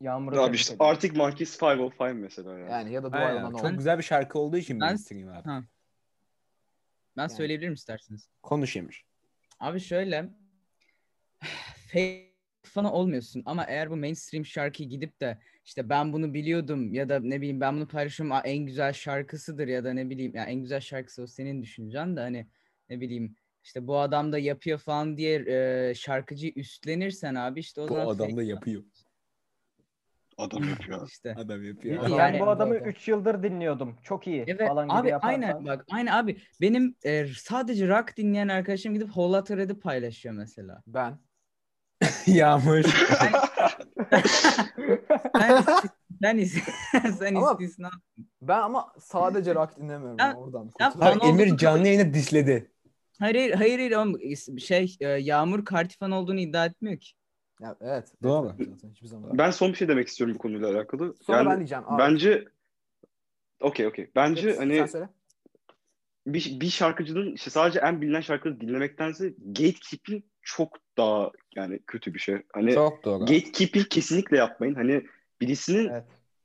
Yağmur'u Abi tebrik işte ediyorum. Arctic Monkeys 505 mesela yani. Yani ya da Aynen, duvardan Çok olmaz. güzel bir şarkı olduğu için Ben- mainstream abi. Ha. Ben Yani. söyleyebilirim isterseniz. Konuş Emir. Abi şöyle fake fanı olmuyorsun ama eğer bu mainstream şarkıyı gidip de işte ben bunu biliyordum ya da ne bileyim ben bunu paylaşıyorum "Aa, en güzel şarkısıdır ya da ne bileyim ya en güzel şarkısı o senin düşüncen de hani ne bileyim işte bu adam da yapıyor falan diye e, şarkıcıyı üstlenirsen abi işte o Bu zaman adam fake da fan. yapıyor. Adam yapıyor. işte. Adam yapıyor. Ben Yani- bu adamı 3 yıldır dinliyordum. Çok iyi Evet falan gibi E abi yaparsan. aynen bak aynı abi benim e, sadece rock dinleyen arkadaşım gidip Whole Outta Red'i paylaşıyor mesela. Ben. Yağmur. Sen, sen, is- sen Ama- istisna. Ben ama sadece rock dinlemiyorum. Ya- oradan ya kurtul- Fan Abi Emir olduğunu- canlı yayını disledi. Hayır hayır hayır, hayır oğlum. Is- şey e, Yağmur Kartifan olduğunu iddia etmiyor ki. Ya, evet. Doğru evet, zaten Hiçbir zaman. Ben son bir şey demek istiyorum bu konuyla alakalı. Sonra yani ben diyeceğim. Abi. bence okey okey. Bence Evet, hani sen söyle. bir, bir şarkıcının işte sadece en bilinen şarkıları dinlemektense gatekeeping çok daha yani kötü bir şey. Hani Çok doğru. gatekeeping kesinlikle yapmayın. Hani birisinin Evet.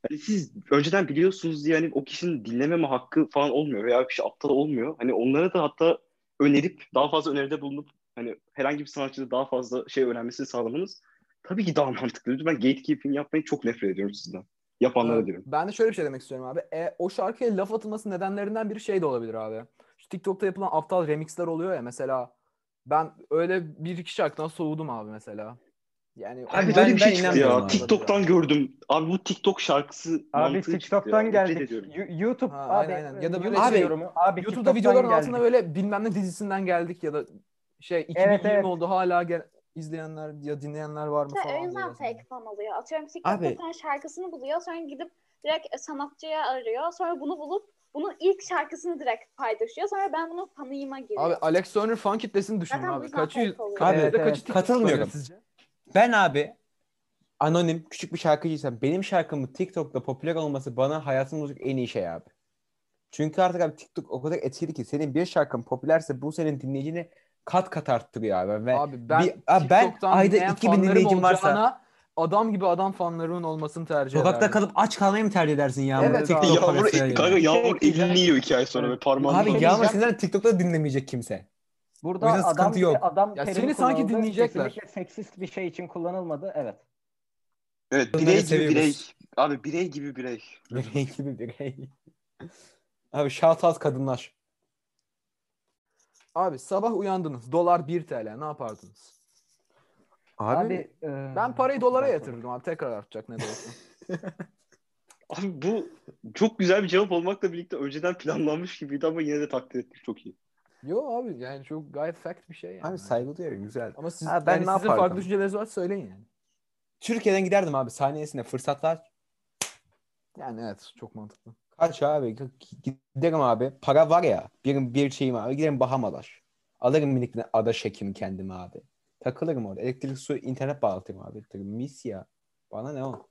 hani siz önceden biliyorsunuz diye hani o kişinin dinlememe hakkı falan olmuyor veya bir şey aptal olmuyor. Hani onlara da hatta önerip daha fazla öneride bulunup hani herhangi bir sanatçıda daha fazla şey öğrenmesini sağlamanız tabii ki daha mantıklı. Lütfen gatekeeping yapmayı çok nefret ediyorum sizden. Yapanlara diyorum. Ben de şöyle bir şey demek istiyorum abi. E, o şarkıya laf atılması nedenlerinden biri şey de olabilir abi. Şu TikTok'ta yapılan aptal remixler oluyor ya mesela. Ben öyle bir iki şarkıdan soğudum abi mesela. Yani Abi Ben- böyle bir ben şey çıktı inanmıyorum ya. abi. TikTok'tan gördüm. Abi bu TikTok şarkısı Abi mantığı TikTok'tan çıktı ya. Nefret geldik. ediyorum. Yu- YouTube Ha, abi. aynen, aynen. Ya da böyle- YouTube Abi, yorumu. Abi YouTube'da TikTok'tan videoların geldik. altına böyle bilmem ne dizisinden geldik ya da şey 2020 Evet, evet. oldu hala gel- izleyenler ya dinleyenler var mı İşte falan. o yüzden diye. fake fan oluyor. Atıyorum TikTok'ta Abi- sen şarkısını buluyor sonra gidip direkt e, sanatçıya arıyor. Sonra bunu bulup bunun ilk şarkısını direkt paylaşıyor. Sonra ben bunun fanıyıma giriyorum. Abi Alex Turner fan kitlesini düşünün Zaten bu abi. yüzden Kaç fake yüz, oluyor. kaç- Abi, yüzde evet. kaçı TikTok Katılmıyorum. böyle sizce? Ben abi anonim küçük bir şarkıcıysam benim şarkımın TikTok'ta popüler olması bana hayatımda olacak en iyi şey abi. Çünkü artık abi TikTok o kadar etkili ki senin bir şarkın popülerse bu senin dinleyicini kat kat arttırıyor abi. Ve Abi ben Bir- abi ben TikTok'tan ayda dinleyen 2000 fanlarım dinleyicim varsa- olacağına adam gibi adam fanlarının olmasını tercih sokakta ederdim. kalıp aç kalmayı mı tercih edersin Yağmur? Evet abi. TikTok Yağmur, e, parasıyla yani. kanka, Yağmur Şey diyeceğim. elini yiyor iki ay sonra ve parmağını Abi falan. Yağmur sizden TikTok'ta dinlemeyecek kimse. Burada O yüzden adam sıkıntı yok. adam Ya terimi seni sanki kullanıldı. dinleyecekler. Kesinlikle seksist bir şey için kullanılmadı. Evet. Evet Bunları birey gibi seviyoruz. birey. Abi birey gibi birey. Birey gibi birey. Abi shout out kadınlar. Abi sabah uyandınız. Dolar 1 TL. Ne yapardınız? Abi, e, Hmm. Ben parayı dolara yatırırdım abi. Tekrar artacak ne de olsa. Abi bu çok güzel bir cevap olmakla birlikte önceden planlanmış gibiydi ama yine de takdir ettik çok iyi. Yo abi yani çok gayet fact bir şey yani. Abi saygı duyuyorum güzel. Ama siz, Abi ben yani ne sizin yapardım? farklı düşünceleriniz var söyleyin yani. Türkiye'den giderdim abi saniyesinde fırsatlar Yani evet çok mantıklı. Kaç abi? Giderim abi. Para var ya. Bir, bir şeyim abi. Giderim Bahamalar. Alırım minik bir ada şekimi kendime abi. Takılırım orada. Elektrik, su, internet bağlatırım abi. Mis ya. Bana ne o?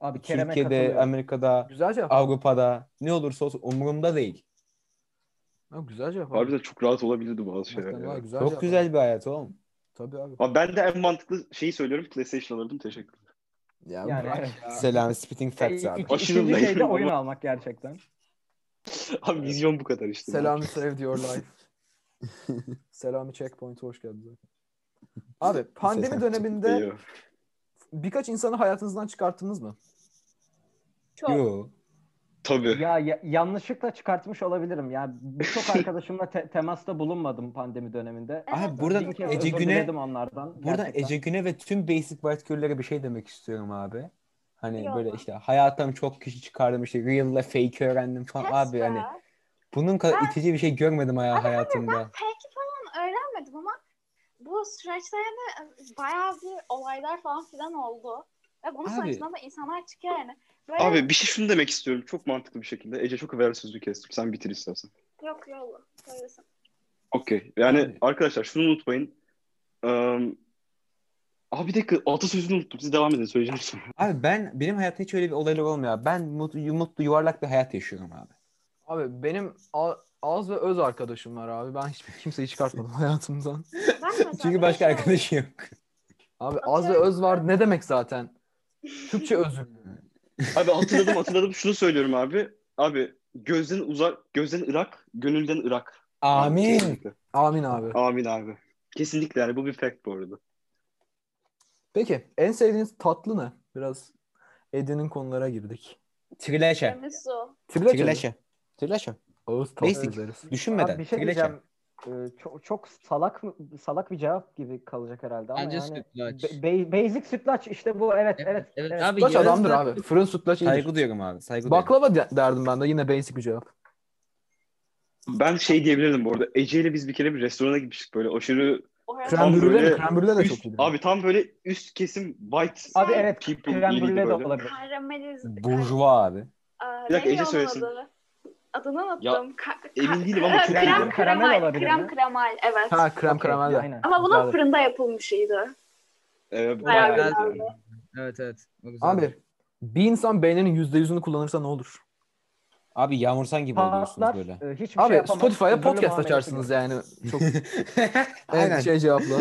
Abi Kerem'e Türkiye'de, katılıyorum. Amerika'da, Güzel cevap. Avrupa'da ne olursa olsun umurumda değil. Ha, güzel cevap. abi. Harbiden çok rahat olabilirdi bazı şeyler. Hakikaten var, ya. güzel Çok cevap güzel abi. bir hayat oğlum. Tabii abi. Abi ben de en mantıklı şeyi söylüyorum. PlayStation alırdım. Teşekkür ederim. Ya, Yani bak, evet. Selam Spitting Facts Ee, İki- abi. iki- Aşırı ikinci şey de naifim oyun ama. almak gerçekten. Abi vizyon bu kadar işte. Selami Save Your Life. Selami Checkpoint'e hoş geldin zaten. Abi pandemi Selam. döneminde Eyvah. birkaç insanı hayatınızdan çıkarttınız mı? Çok. Yo. Tabii. Ya, ya- yanlışlıkla çıkartmış olabilirim. Ya birçok arkadaşımla te- temasta bulunmadım pandemi döneminde. Evet, Abi buradan Bir kez Ece özür Güne- diledim onlardan. Buradan gerçekten. Ece Güne ve tüm Basic White Girl'lere bir şey demek istiyorum abi. Hani Yok. böyle işte hayattan çok kişi çıkardım işte real'la fake öğrendim falan Yes abi be. hani bunun kadar itici bir şey görmedim Ama hani ya abi hayatımda. Peki falan öğrenmedim ama bu süreçte yani e, bayağı bir olaylar falan filan oldu. Ve bunun Abi. sonucunda da insanlar çıkıyor yani. Böyle Abi bir şey şunu demek istiyorum. Çok mantıklı bir şekilde. Ece çok evvel sözü kestim. Sen bitir istersen. yok yok. Söylesin. Okey. Yani Yani- arkadaşlar şunu unutmayın. Ee, abi bir dakika atasözünü unuttum. Siz devam edin söyleyeceğim sonra. Abi ben benim hayatta hiç öyle bir olaylar olmuyor. abi. Ben mutlu, mutlu yuvarlak bir hayat yaşıyorum abi. Abi benim a- az ve öz arkadaşım var abi. Ben hiçbir kimseyi çıkartmadım hayatımdan. Ben mesela Çünkü başka böyle şey arkadaşım yok. Abi az ve öz var ne demek zaten? Türkçe özüm. Abi hatırladım hatırladım. Şunu söylüyorum abi. Abi gözden uzak, gözden ırak, gönülden ırak. Amin. Kesinlikle. Amin abi. Amin abi. Kesinlikle yani bu bir fact bu arada. Peki en sevdiğiniz tatlı ne? Biraz Eden'in konulara girdik. Trileçe. Tiramisu. Trileçe. mi? Trileçe. Trileçe. Ağız tatlısı Basic. üzeriz. Düşünmeden. Abi bir şey trileçe. diyeceğim. Ee, çok, çok salak mı- salak bir cevap gibi kalacak herhalde ama Bence yani be- sütlaç. be- basic sütlaç işte bu evet Evet, evet. evet. evet. Abi Sütlaç yarın adamdır zaten- abi. Fırın sütlaç iyidir. Şey- Saygı duyuyorum abi. Saygı duyuyorum. Baklava de- derdim ben de yine basic bir cevap. Ben şey diyebilirdim bu arada. Ece ile biz bir kere bir restorana gitmiştik böyle aşırı Oraya Krem Tam brüle de, böyle krem brüle de üst- çok iyi. abi tam böyle üst kesim white Abi evet people krem biriydi brüle de böyle. olabilir. karameliz. Burjuva abi. Aa, Bir dakika, neydi Ece onun söylesin. adı? Adını unuttum. Ya, Ka- ka- emin değilim ama çok krem, eminim. Karamel kremal, olabilir Krem mi? kremal evet. Ha krem Okey, karamel de. aynen. Ama bunun Güzeldir. fırında yapılmışıydı. Ee, Bayağı Ben- güzeldi. Evet evet. O güzel. Abi bir insan beyninin yüzde yüzünü kullanırsa ne olur? Abi yağmursan gibi oluyorsunuz Patlar, böyle. e, hiçbir şey Abi yapamaz. Spotify'da Özürlü podcast muamelesi açarsınız gör. yani. Çok Aynen. en şey cevapla.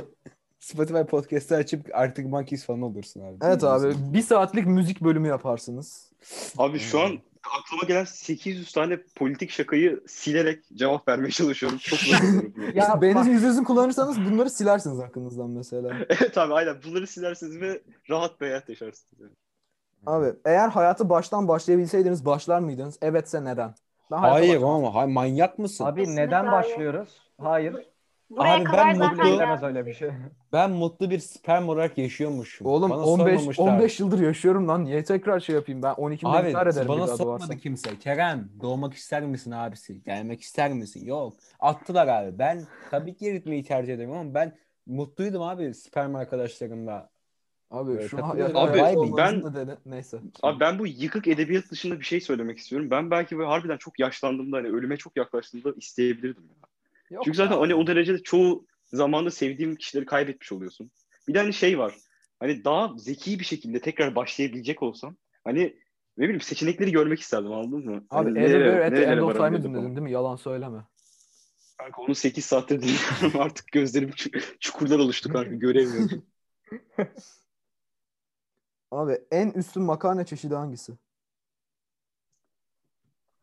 Spotify podcast'ı açıp artık Monkeys falan olursun abi. Evet abi bir saatlik müzik bölümü yaparsınız. Abi şu an aklıma gelen 800 tane politik şakayı silerek cevap vermeye çalışıyorum. Çok zor oluyorum bunu. Ya Ya bak- beyninizin yüzde yüzünü kullanırsanız bunları silersiniz aklınızdan mesela. evet abi aynen. Bunları silersiniz ve rahat bir hayat yaşarsınız. yani. Abi eğer hayatı baştan başlayabilseydiniz başlar mıydınız? Evetse neden? Ben hayata Hayır başlamam. ama hayır, manyak mısın? Abi Kesinlikle neden hayır. başlıyoruz? Hayır. Buraya Abi ben kadar zaten mutlu- Demez ya. öyle bir şey. Ben mutlu bir sperm olarak yaşıyormuşum. Oğlum Bana 15 sormamışlar. 15 yıldır yaşıyorum lan. Niye tekrar şey yapayım ben? 12 bin Abi intihar ederim bir bana daha sormadı doğarsam. kimse. Kerem doğmak ister misin abisi? Gelmek ister misin? Yok. Attılar abi. Ben tabii ki gitmeyi tercih ederim ama ben mutluydum abi sperm arkadaşlarımla. Abi Evet, şu hayat katılıyorum. Abi, hayatı ben- ben... Dedi. Neyse. Abi ben bu yıkık edebiyat dışında bir şey söylemek istiyorum. Ben belki böyle harbiden çok yaşlandığımda hani ölüme çok yaklaştığımda isteyebilirdim. ya. Yok Çünkü zaten ya. hani o derecede çoğu zamanda sevdiğim kişileri kaybetmiş oluyorsun. Bir de hani şey var. Hani daha zeki bir şekilde tekrar başlayabilecek olsam hani ne bileyim seçenekleri görmek isterdim anladın mı? Abi Hani Ever nerelere- Bear at the nerelere End of Time'ı varabilirdim falan. dinledin değil mi? Yalan söyleme. Kanka onu 8 saattir dinliyorum artık gözlerim çu- çukurlar oluştu kanka göremiyorum. Abi en üstün makarna çeşidi hangisi?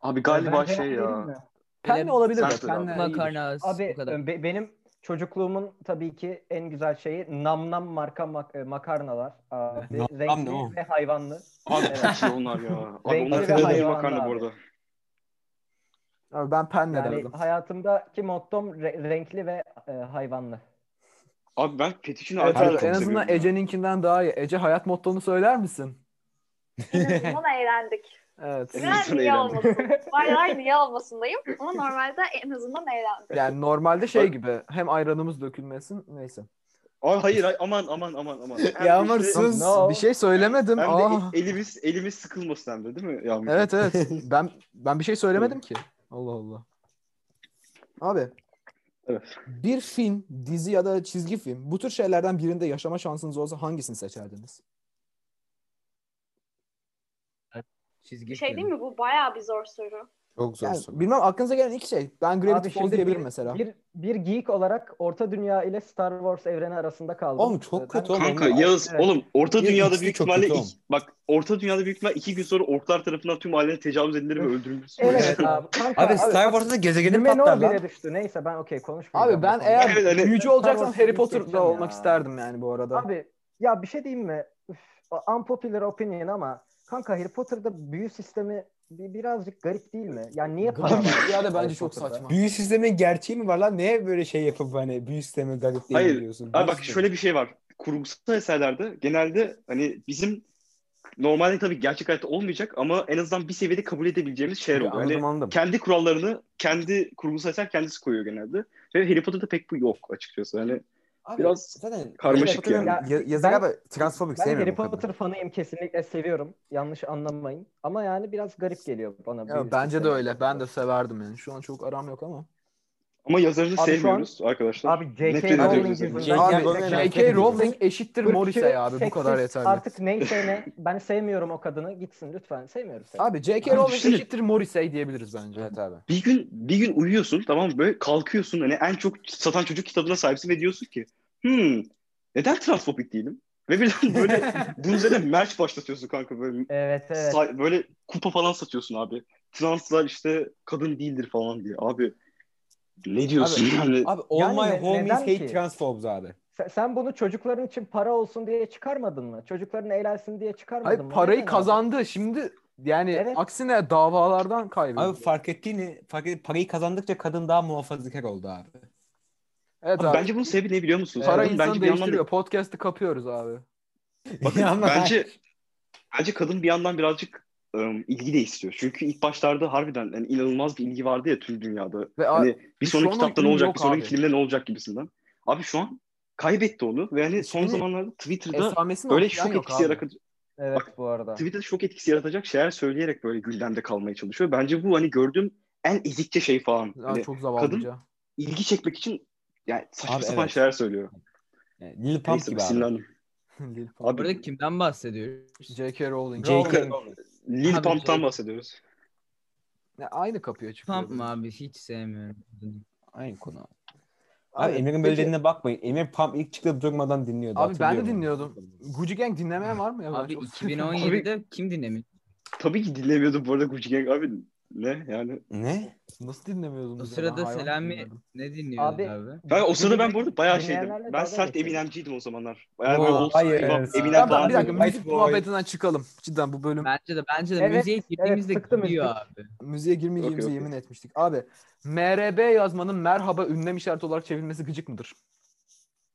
Abi galiba Ben cevap şey vereyim ya. mi? Penne olabilir Sen- belki. Sen- Penne iyidir. Makarna az, Abi o kadar. e, be- benim çocukluğumun tabii ki en güzel şeyi nam nam marka mak- e, makarnalar. Abi, Nam Nam ne renkli oğlum? ve hayvanlı. Abi Evet. çok iyi onlar ya. Abi Renkli onlar ve kadar iyi hayvanlı makarna bu abi. arada. Abi ben penne Yani derdim. hayatımdaki mottom re- renkli ve e, hayvanlı. Abi ben fetişin Evet arteri abi, çok en azından seviyorum ya. Ece'ninkinden daha iyi. Ece hayat mottonu söyler misin? En azından eğlendik. Evet. En azından Ben niye eğlendik. olmasın? Baylar niye olmasındayım ama normalde en azından eğlendim. Yani normalde şey gibi hem ayranımız dökülmesin neyse. Abi hayır hayır, aman aman aman aman. Hem Yağmur, işte- sus. Lan Bir şey söylemedim. Hem Aa. de e- elimiz elimiz sıkılmasın hem de değil mi Yağmur? Evet evet. Ben ben bir şey söylemedim ki. Allah Allah. Abi. Evet. Bir film, dizi ya da çizgi film bu tür şeylerden birinde yaşama şansınız olsa hangisini seçerdiniz? Çizgi Bir şey film. değil mi? Bu bayağı bir zor soru. Çok zor Yani soru. bilmem aklınıza gelen ilk şey. Ben Gravity Abi Falls şimdi diyebilirim bir- mesela. Bir, bir geek olarak Orta Dünya ile Star Wars evreni arasında kaldım. Oğlum çok Ben- kötü oğlum. Kanka Onlar- Yağız Evet. oğlum Orta Bir Dünya'da ikisi büyük çok ihtimalle kötü ilk- oğlum. bak Orta Dünya'da büyük ihtimalle iki gün sonra orklar tarafından tüm ailene tecavüz edilir ve Öf. öldürülür. Evet abi. Kanka, Abi Star bak, Wars'ta gezegenin Numenor patlar lan. bile düştü. Neyse ben okey konuşmayacağım. Abi bu ben konuda. eğer Evet, hani- büyücü olacaksam Star Wars'ı Harry Potter'da seçeceğim olmak ya. isterdim yani bu arada. Abi ya bir şey diyeyim mi? Üf, unpopular opinion ama kanka Harry Potter'da büyü sistemi bi- birazcık garip değil mi? Yani niye para Abi, var? ya da bence Harry çok Potter'da? saçma. Büyü sistemin gerçeği mi var lan? Neye böyle şey yapıp hani büyü sistemi garip değil Hayır. mi diyorsun? Abi Büyü bak sistemi. şöyle bir şey var. Kurgusal eserlerde genelde hani bizim normalde tabii gerçek hayatta olmayacak ama en azından bir seviyede kabul edebileceğimiz şeyler oluyor. Hani Anladım anladım. kendi kurallarını kendi kurgusal eser kendisi koyuyor genelde. Ve Harry Potter'da pek bu yok açıkçası. Hani Abi, biraz zaten karmaşık Harry Potter'ın yani. ya- yazar Ben- abi transfobik Ben sevmiyorum Harry bu kadını. Potter fanıyım kesinlikle seviyorum. Yanlış anlamayın. Ama yani biraz garip geliyor bana. Ya, büyü bence de sistemi. öyle. Ben de severdim yani. Şu an çok aram yok ama. ama yazarını Abi şu an- sevmiyoruz arkadaşlar. Abi Nefret J.K. ediyoruz yazarını. Rowling yüzünden. J.K. Abi Rowling nefret J.K. ediyoruz. Rowling eşittir Irkçı, Morrissey abi. Bu kadar seksist, yeterli. Artık neyse ne. Ben sevmiyorum o kadını. Gitsin lütfen. Sevmiyorum seni. Abi J.K. Abi Rowling düşünün. eşittir Morrissey diyebiliriz bence. Evet abi. Bir gün bir gün uyuyorsun tamam mı? Böyle kalkıyorsun hani en çok satan çocuk kitabına sahipsin ve diyorsun ki hmm, neden transfobik değilim? Ve birden böyle bunun üzerine merch başlatıyorsun kanka böyle Evet evet. Say- böyle kupa falan satıyorsun abi. Translar işte kadın değildir falan diye. Abi ne diyorsun yani? Abi all Yani my ne- homies neden hate ki? transphobes abi. Sen, sen bunu çocukların için para olsun diye çıkarmadın mı? Çocukların eğlensin diye çıkarmadın Hayır mı? parayı Neden abi? kazandı. Şimdi yani Evet. aksine davalardan kaybediyor. Abi fark ettiğini fark et, parayı kazandıkça kadın daha muhafazakar oldu abi. evet Abi abi. bence bunun sebebi ne biliyor musunuz? Para Kadın insanı bence bir yandan da- değiştiriyor. Podcast'ı kapıyoruz abi. Bakın, Ya ama- bence bence kadın bir yandan birazcık ım, ilgi de istiyor. Çünkü ilk başlarda harbiden yani inanılmaz bir ilgi vardı ya tüm dünyada. Ve a- Hani bir şu sonraki an o kitapta ne ilgi olacak, yok bir sonraki abi. filmde ne olacak gibisinden. Abi şu an kaybetti onu ve yani son Şimdi zamanlarda Twitter'da esamesini böyle okuyan şok yok etkisi abi. yaratacak Evet bu arada. Twitter'da şok etkisi yaratacak şeyler söyleyerek böyle gündemde kalmaya çalışıyor. Bence bu hani gördüğüm en ezikçe şey falan. Ya Hani çok zavallıca. ilgi çekmek için yani saçma Abi sapan evet. şeyler söylüyor. Yani Lil Pump Neyse, gibi abi. sinirlendim. Lil Pump. Abi, Burada kimden bahsediyoruz? J.K. Rowling. J.K. Rowling. Lil Abi, Pump'tan şey- bahsediyoruz. Ya aynı kapıya çıkıyor. Pump mı abi? Hiç sevmiyorum. Aynı konu. Abi, Abi, Emir'in böyle peki- dediğine bakmayın. Emir Pump ilk çıkıp durmadan dinliyordu. Abi ben de hatırlıyorum. dinliyordum. Gucci Gang dinlemeyen var mı ya? Ben Abi çok- 2017'de kim dinlemiş? Tabii ki dinlemiyordum bu arada Gucci Gang abi. Ne yani? Ne? Nasıl dinlemiyordum? O ya? Ben sırada hayvan Selami dinliyordum. ne dinliyordu Abi- abi? Kanka o sırada ben bu arada bayağı şeydim. Ben Dinleyenlerle dalga sert geçiyorum. Eminemciydim o zamanlar. Bayağı Oo, böyle old school hayır, hip hop, evet. Eminem Tamam, falan. tamam, bir dakika dinliyordum. müzik White Boy. muhabbetinden çıkalım. Cidden bu bölüm Bence de bence de Evet, müziğe girdiğimizde evet, sıktı gidiyor müzik. abi. müziğe girmeyeceğimize Okey, okey. yemin etmiştik. Abi MRB yazmanın merhaba ünlem işareti olarak çevrilmesi gıcık mıdır?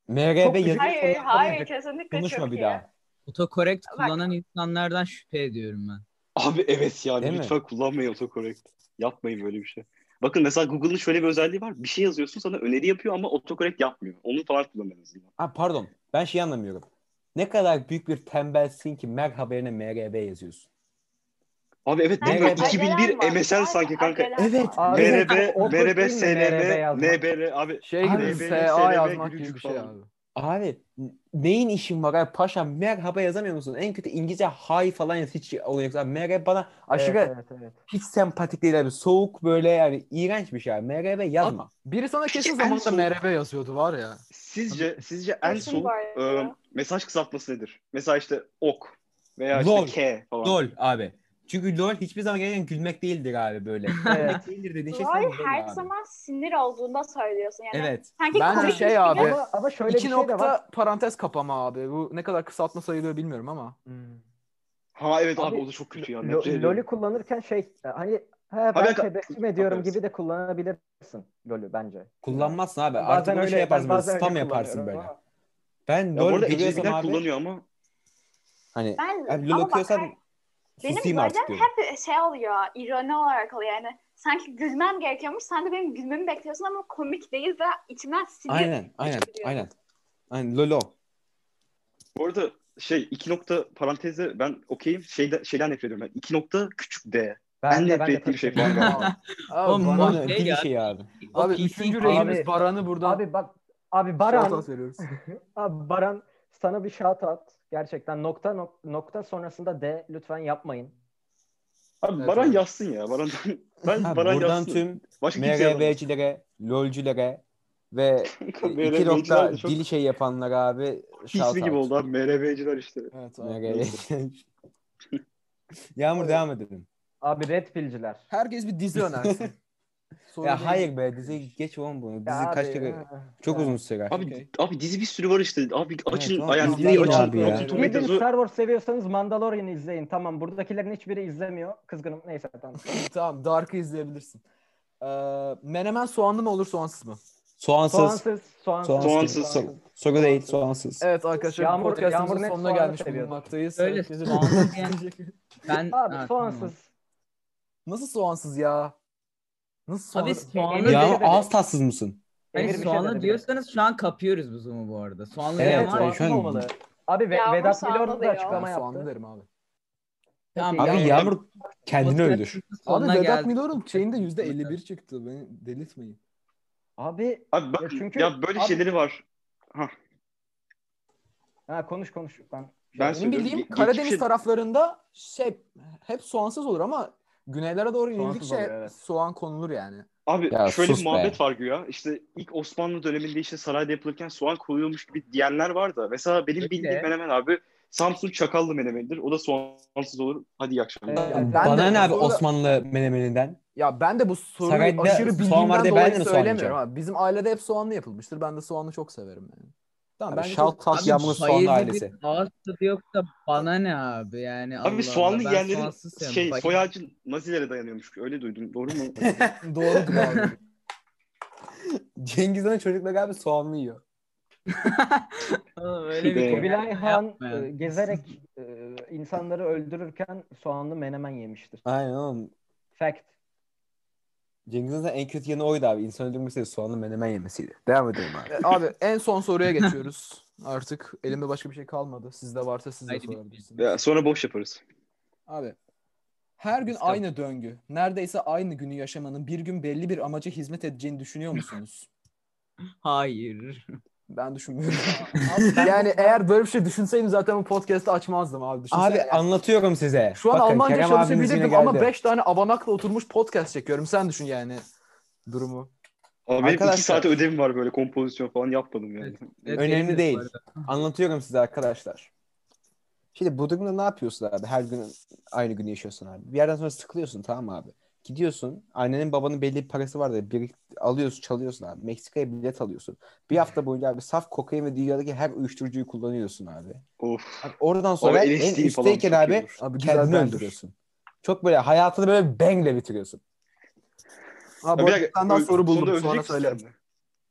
MRB Çok- yazık Hayır, olarak hayır olmayacak. kesinlikle Konuşma çok bir iyi. daha. Otokorekt Bak. kullanan insanlardan şüphe ediyorum ben. Abi evet yani Değil mi? lütfen kullanmayın otokorekt. Yapmayın böyle bir şey. Bakın mesela Google'ın şöyle bir özelliği var. Bir şey yazıyorsun sana öneri yapıyor ama otokorekt yapmıyor. Onu falan kullanın en azından. Ha pardon. Ben şey anlamıyorum. Ne kadar büyük bir tembelsin ki merhaba yerine MRB yazıyorsun. Abi evet değil mi? Evet. 2001 Acelen var. MSN sanki kanka. Acelen Evet. var. Abi, MRB, o- o MRB, değil mi? MRB SLM, yazmak. NBR abi. Şey gibi Abi, SA SLM yazmak gibi gülücük bir şey falan. abi. Abi neyin işin var abi paşa merhaba yazamıyor musun? En kötü İngilizce hi falan yaz hiç olay yok. Abi, MRB bana aşırı Evet, evet, evet. hiç sempatik değil abi. Soğuk böyle yani iğrenç bir şey abi. MRB yazma. Biri sana kesin En zamanında son- MRB yazıyordu var ya. Sizce sizce en Kesin soğuk var ya. e, mesaj kısaltması nedir? Mesela işte ok veya işte Lol. K falan. LOL abi. Çünkü LOL hiçbir zaman gerçekten gülmek değildir abi böyle. Evet. Gülmek değildir dediğin şey Lol sanırım LOL her abi. zaman sinir olduğunda söylüyorsun. Yani Evet. Sanki Bence komik şey bir- abi, Ama, ama şöyle bir İki şey de nokta var. parantez kapama abi. Bu ne kadar kısaltma sayılıyor bilmiyorum ama. Hmm. Ha evet abi, Abi, o da çok kötü ya. Lo- nefret ediyorum. LoL'ü kullanırken şey hani ha, bir ben dakika. tebessüm ediyorum Affedersin. gibi de kullanabilirsin LoL'ü bence. Kullanmazsın şey. abi. Bazen Artık böyle şey öyle, yaparsın. ben Böyle bazen öyle spam yaparsın kullanıyorum böyle. ama- Ben Ya bu LOL arada görüyorsam ecnebiler abi. kullanıyor ama Hani Ben, abi LOL ama bak, okuyorsan benim susayım böyle artık diyorum. hep şey oluyor, ironi olarak oluyor yani. Sanki gülmem gerekiyormuş, sen de benim gülmemi bekliyorsun ama komik değil ve içimden sinir. Aynen. Aynen. Çıkıyor. Aynen. Aynen. LOL o. Bu arada şey iki nokta parantezde ben okeyim. Şeyde, şeyden nefret ediyorum ben. İki nokta küçük D. en de- nefret de ettiğim şey tabii- falan. galiba. Abi, Oğlum, Baran- Baran- Bana şey dil ya. şey abi. abi Okey, üçüncü abi- reyimiz Baran'ı buradan Abi bak abi Baran Baran veriyoruz. abi Baran sana bir shout out. Gerçekten nokta nok- nokta sonrasında de lütfen yapmayın. Abi Evet, Baran evet. yazsın ya. Baran, ben Ha, Baran buradan yazsın. tüm Başka kimse yazamaz. MRB'cilere, LOL'cülere ve MRB'ciler iki de nokta çok dil şey yapanlara abi shout Hismi gibi out. oldu abi. MRB'ciler işte. Evet abi. MRB. Yağmur devam edelim. Abi Red Pill'ciler. Herkes bir dizi önersin. Ya hayır be dizi geç oğlum bunu. Dizi Ya kaç abi, kere? ha. Çok Ya. uzun sürer. Abi Okey. abi dizi bir sürü var işte. Abi açın tamam, ayağını izleyin açın. abi ya. Rotten Yemin ederim Tomatoes'u Star Wars seviyorsanız Mandalorian'ı izleyin. Tamam buradakilerin hiçbiri izlemiyor. Kızgınım. Neyse tamam. tamam Dark'ı izleyebilirsin. Ee, menemen soğanlı mı olur soğansız mı? Soğansız. Soğansız. Soğansız. Soğansız. Soğansız. Soğansız. Soru değil soğansız. Evet arkadaşlar bu Yağmur- podcastımızın Yağmur net sonuna soğanı gelmiş seviyordu. bulunmaktayız. Öyle Evet, bizi- soğansız yani. Ben, Abi Ha, tamam. soğansız. Nasıl soğansız ya? Nasıl Abi soğansız? soğanlı, Ya- Yağmur ağız tatsız mısın? hani Emir bir şey soğanlı dedi. diyorsanız şu an kapıyoruz bu zoom'u bu arada. Soğanlı Evet, evet, yani soğansız şu an- olmalı. Abi Ve- Yağmur Vedat soğanlı Milor da diyor. açıklama Ben soğanlı yaptı. derim abi. Tamam, Abi yani- Yağmur kendini öldür. Abi Sonuna Vedat geldik. Milor'un şeyinde %51 çıktı. Beni delirtmeyin. Abi Abi bak Ya ya, çünkü- böyle abi- şeyleri var. ha, konuş konuş. Ben Ben Benim söylüyorum. şey- bildiğim ge- Karadeniz geçmişe- taraflarında şey hep soğansız olur ama güneylere doğru şey- Soğansız inildikçe oluyor, evet. soğan konulur yani. Abi Ya şöyle sus bir be. muhabbet var güya. İşte ilk Osmanlı döneminde işte sarayda yapılırken soğan koyuyormuş gibi diyenler var da. Mesela benim Öyle. bildiğim menemen abi Samsun çakallı menemenidir. O da soğansız olur. Hadi iyi akşamlar. Ya Evet. ben Bana de ne bu abi soruda- Osmanlı menemeninden? Ya ben de bu soruyu Sarayda aşırı soğan bildiğimden var diye ben de dolayı mi soğan söylemiyorum. yiyeceğim? Abi. Bizim ailede hep soğanlı yapılmıştır. Ben de soğanlı çok severim yani. Tamam Abi ben shout out Yağmur'un soğanlı hayırlı ailesi. Bir ağız tadı yoksa bana ne abi yani Allah Abi soğanlı Allah, ben yiyenlerin soğansız sevmem. şey Bak- soy ağacı nazilere dayanıyormuş. Öyle duydum. Doğru mu? doğrudur abi. Cengiz Han'ın çocukları abi soğanlı yiyor. Oğlum öyle Be. bir şey Kubilay Han Yapma ya. e, gezerek e, insanları öldürürken soğanlı menemen yemiştir. Aynen oğlum. Fact. Cengiz Han'ın en kötü yanı oydu abi. İnsan öldürmesi de soğanlı menemen yemesiydi. Devam edelim abi. E, abi en son soruya geçiyoruz. Artık elimde başka bir şey kalmadı. Sizde varsa siz de Haydi bir- sorabilirsiniz. Ya, sonra boş yaparız. Abi her gün Biz kal- aynı döngü, neredeyse aynı günü yaşamanın bir gün belli bir amaca hizmet edeceğini düşünüyor musunuz? Hayır. Ben düşünmüyorum. yani eğer böyle bir şey düşünseydim zaten bu podcast'ı açmazdım abi. Düşünsene Abi yani. anlatıyorum size. Şu an Bakın, Almanca Kerem abiniz yine çalışabilirdim ama geldi. 5 tane abanakla oturmuş podcast çekiyorum. Sen düşün yani durumu. Abi benim Arkadaşlar- iki saate ödevim var böyle kompozisyon falan yapmadım yani. Evet, Önemli benim de bu değil. arada. Anlatıyorum size arkadaşlar. Şimdi bu durumda ne yapıyorsun abi? Her gün aynı günü yaşıyorsun abi. Bir yerden sonra sıkılıyorsun tamam mı abi? Gidiyorsun. Annenin babanın belli bir parası var da bir alıyorsun çalıyorsun abi. Meksika'ya bilet alıyorsun. Bir hafta boyunca abi saf kokain ve dünyadaki her uyuşturucuyu kullanıyorsun abi. Of. Abi oradan sonra Abi en LSD üstteyken falan abi, çekiyordur. Abi güzel kendini bendir. öldürüyorsun. Çok böyle hayatını böyle bangle bitiriyorsun. Abi Ya bu bir arada dakika, senden ö- soru Sonunda buldum ölecek sonra misin söylerim. kendini?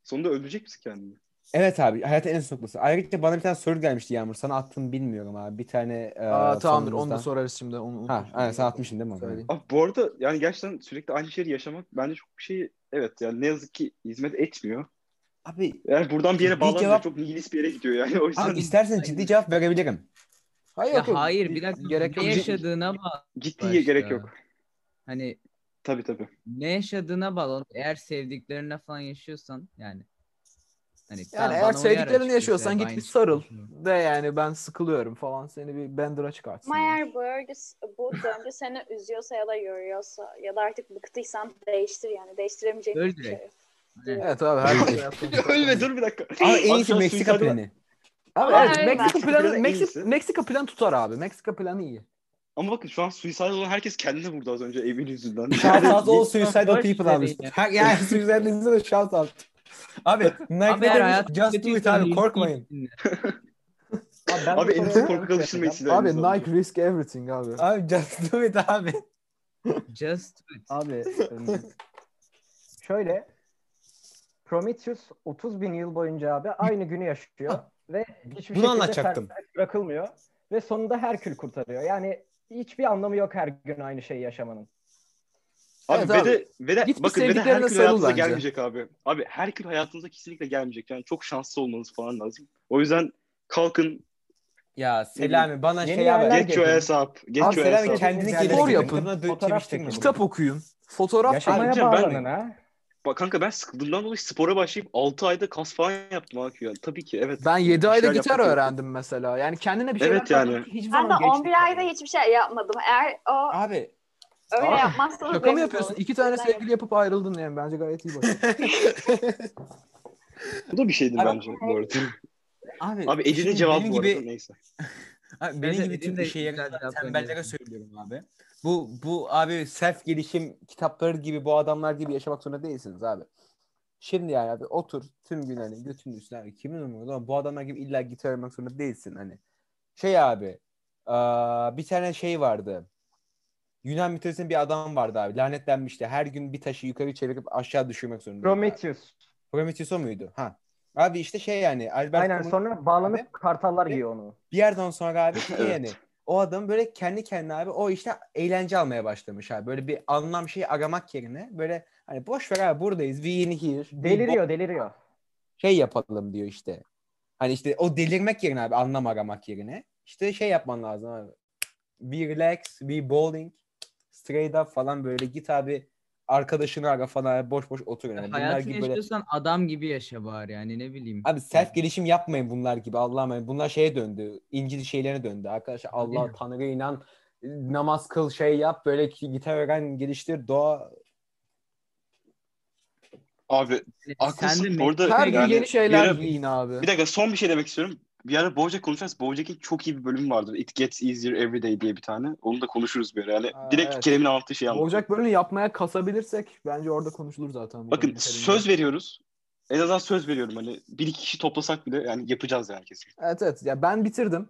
Sonunda ölecek misin kendini? Evet abi hayatın en soklası. Ayrıca bana bir tane soru gelmişti Yağmur. Sana attım bilmiyorum abi. Bir tane e, Aa, tamamdır onu da sonumuzdan- sorarız şimdi. Onu, Ha, aynen, sen atmışsın değil mi onu? Söyleyeyim. Abi bu arada yani gerçekten sürekli aynı şeyi yaşamak bence çok bir şey evet yani ne yazık ki hizmet etmiyor. Abi Yani buradan bir Bir yere bağlanmıyor. cevap- Çok nihilist bir yere gidiyor yani. O yüzden Abi istersen ciddi cevap verebilirim. Hayır, Ya yok, yok. hayır bir dakika Gerek ne yok. yaşadığına bağlı. ciddiye gerek Başka. yok. Hani Tabii tabii. ne yaşadığına bağlı. Eğer sevdiklerine falan yaşıyorsan yani. Hani Yani ben- eğer bana uyar sevdiklerini açıkçası, yaşıyorsan hep git aynı bir şey sarıl. yaşıyorum. De yani ben sıkılıyorum falan seni bir bendera çıkartsın. Meğer bu örgü, bu döngü seni üzüyorsa ya da yoruyorsa ya da artık bıktıysan değiştir yani. Değiştiremeyeceğin Öl bir direkt. şey. yok. Evet. Evet abi her şey yaptığımız- Ölme dur bir dakika. Ama en Abi şu iyisi an Meksika suikadal- planı. Abi Ama evet, öyle. Meksika planı Meksika Meksika, planı Meksika planı tutar abi. Meksika planı iyi. Ama bakın şu an suicidal olan herkes kendine vurdu az önce evin yüzünden. Shout out all suicidal Boş people abi. verin ya. Ha, yani suicidal insana shout out. Abi Nike'de Abi eğer demiş hayatın just do it kötüysen abi iyi korkmayın. değilsin. Abi, ben Abi bu en soruya- son korku alıştırmayı Abi Nike risk everything abi. Abi just do it abi. Just do it. Abi ım, şöyle Prometheus 30 bin yıl boyunca abi aynı günü yaşıyor ve hiçbir Bunu şekilde anlatacaktım. serbest bırakılmıyor ve sonunda Herkül kurtarıyor. Yani hiçbir anlamı yok her gün aynı şeyi yaşamanın. Abi Evet ve abi. de ve de Git bir bakın ve de sevdiklerine Herkül sarıl hayatınıza bence. gelmeyecek abi. Abi Herkül hayatınıza kesinlikle gelmeyecek. Yani çok şanslı olmanız falan lazım. O yüzden kalkın Ya Selami bana Yeni şey abi. yerler- get your gelin. ass up. Get Abi your ass Selami up. kendini Yerler- geliştirmek yapın. adına dö- Fotoğraf çeviştirme çekin. bunu. Kitap okuyun. Fotoğraf Yaşa- çekin. Yaşamaya canım, ben- bağlanın ha. Bak kanka ben sıkıldığımdan dolayı spora başlayıp 6 ayda kas falan yaptım abi. Yani tabii ki evet. Ben 7 Bir ayda şeyler gitar yapmak öğrendim mesela. Yani kendine bir şeyler Evet yani. katmak hiçbir Ben de zaman geç 11 değil. ayda hiçbir şey yapmadım. Eğer o Abi Öyle Aa, yapmazsanız Şaka mı rezil yapıyorsun? olursunuz. İki tane Neden sevgili yapıp ayrıldın yani. Bence gayet iyi başarı. Bu da bir şeydir Abi- bence bu arada. Abi, Abi Ece'de şimdi cevap benim bu arada gibi neyse. Abi Evet, benim evet, gibi tüm benim de işe yarayan güzel cevaplar tembellere geliyor. söylüyorum abi. Bu bu abi self gelişim kitapları gibi bu adamlar gibi yaşamak zorunda değilsiniz abi. Şimdi yani abi otur tüm gün hani götünün üstüne abi kimin umurunda ama bu adamlar gibi illa gitar oynamak zorunda değilsin hani. Şey abi aa, bir tane şey vardı. Yunan mitolojisinde bir adam vardı abi lanetlenmişti. Her gün bir taşı yukarı çevirip aşağı düşürmek zorunda. Prometheus. Prometheus o muydu? Ha. Abi işte şey yani Albert Aynen Camus- sonra bağlanıp Abi. kartallar yiyor onu. bir yerden sonra abi şey Evet. yani o adam böyle kendi kendine abi o işte eğlence almaya başlamış abi. Böyle bir anlam şeyi aramak yerine böyle hani boş ver abi buradayız. We in here. We bo- Deliriyor deliriyor. Şey yapalım diyor işte. Hani işte o delirmek yerine abi anlam aramak yerine. işte şey yapman lazım abi. We relax, we bowling, straight up falan böyle git abi arkadaşını ara falan abi, boş boş otur. Yani. Bunlar Hayatını gibi böyle yaşıyorsan adam gibi yaşa bari yani ne bileyim. Abi self gelişim yapmayın bunlar gibi Allah'ım. yani Bunlar şeye döndü. İncil şeylerine döndü. Arkadaşlar Değil mi? Allah Tanrı'ya inan. Namaz kıl şey yap. Böyle ki gitar öğren geliştir. Doğa. Abi Yani haklısın. sen de Orada Her gün yani yeni şeyler bir ara- giyin abi. Bir dakika son bir şey demek istiyorum. Bir ara Bojack konuşacağız. Bojack'in çok iyi bir bölümü vardır. It Gets Easier Every Day diye bir tane. Onu da konuşuruz bir ara. Yani Aa, direkt evet. Kerem'in anlattığı şeyi anlatıyor. Olacak bölümü yapmaya kasabilirsek bence orada konuşulur zaten. bu Bakın konuda. söz veriyoruz. En azından söz veriyorum hani. Bir iki kişi toplasak bile yani yapacağız yani kesin. Evet evet. Ya ben bitirdim.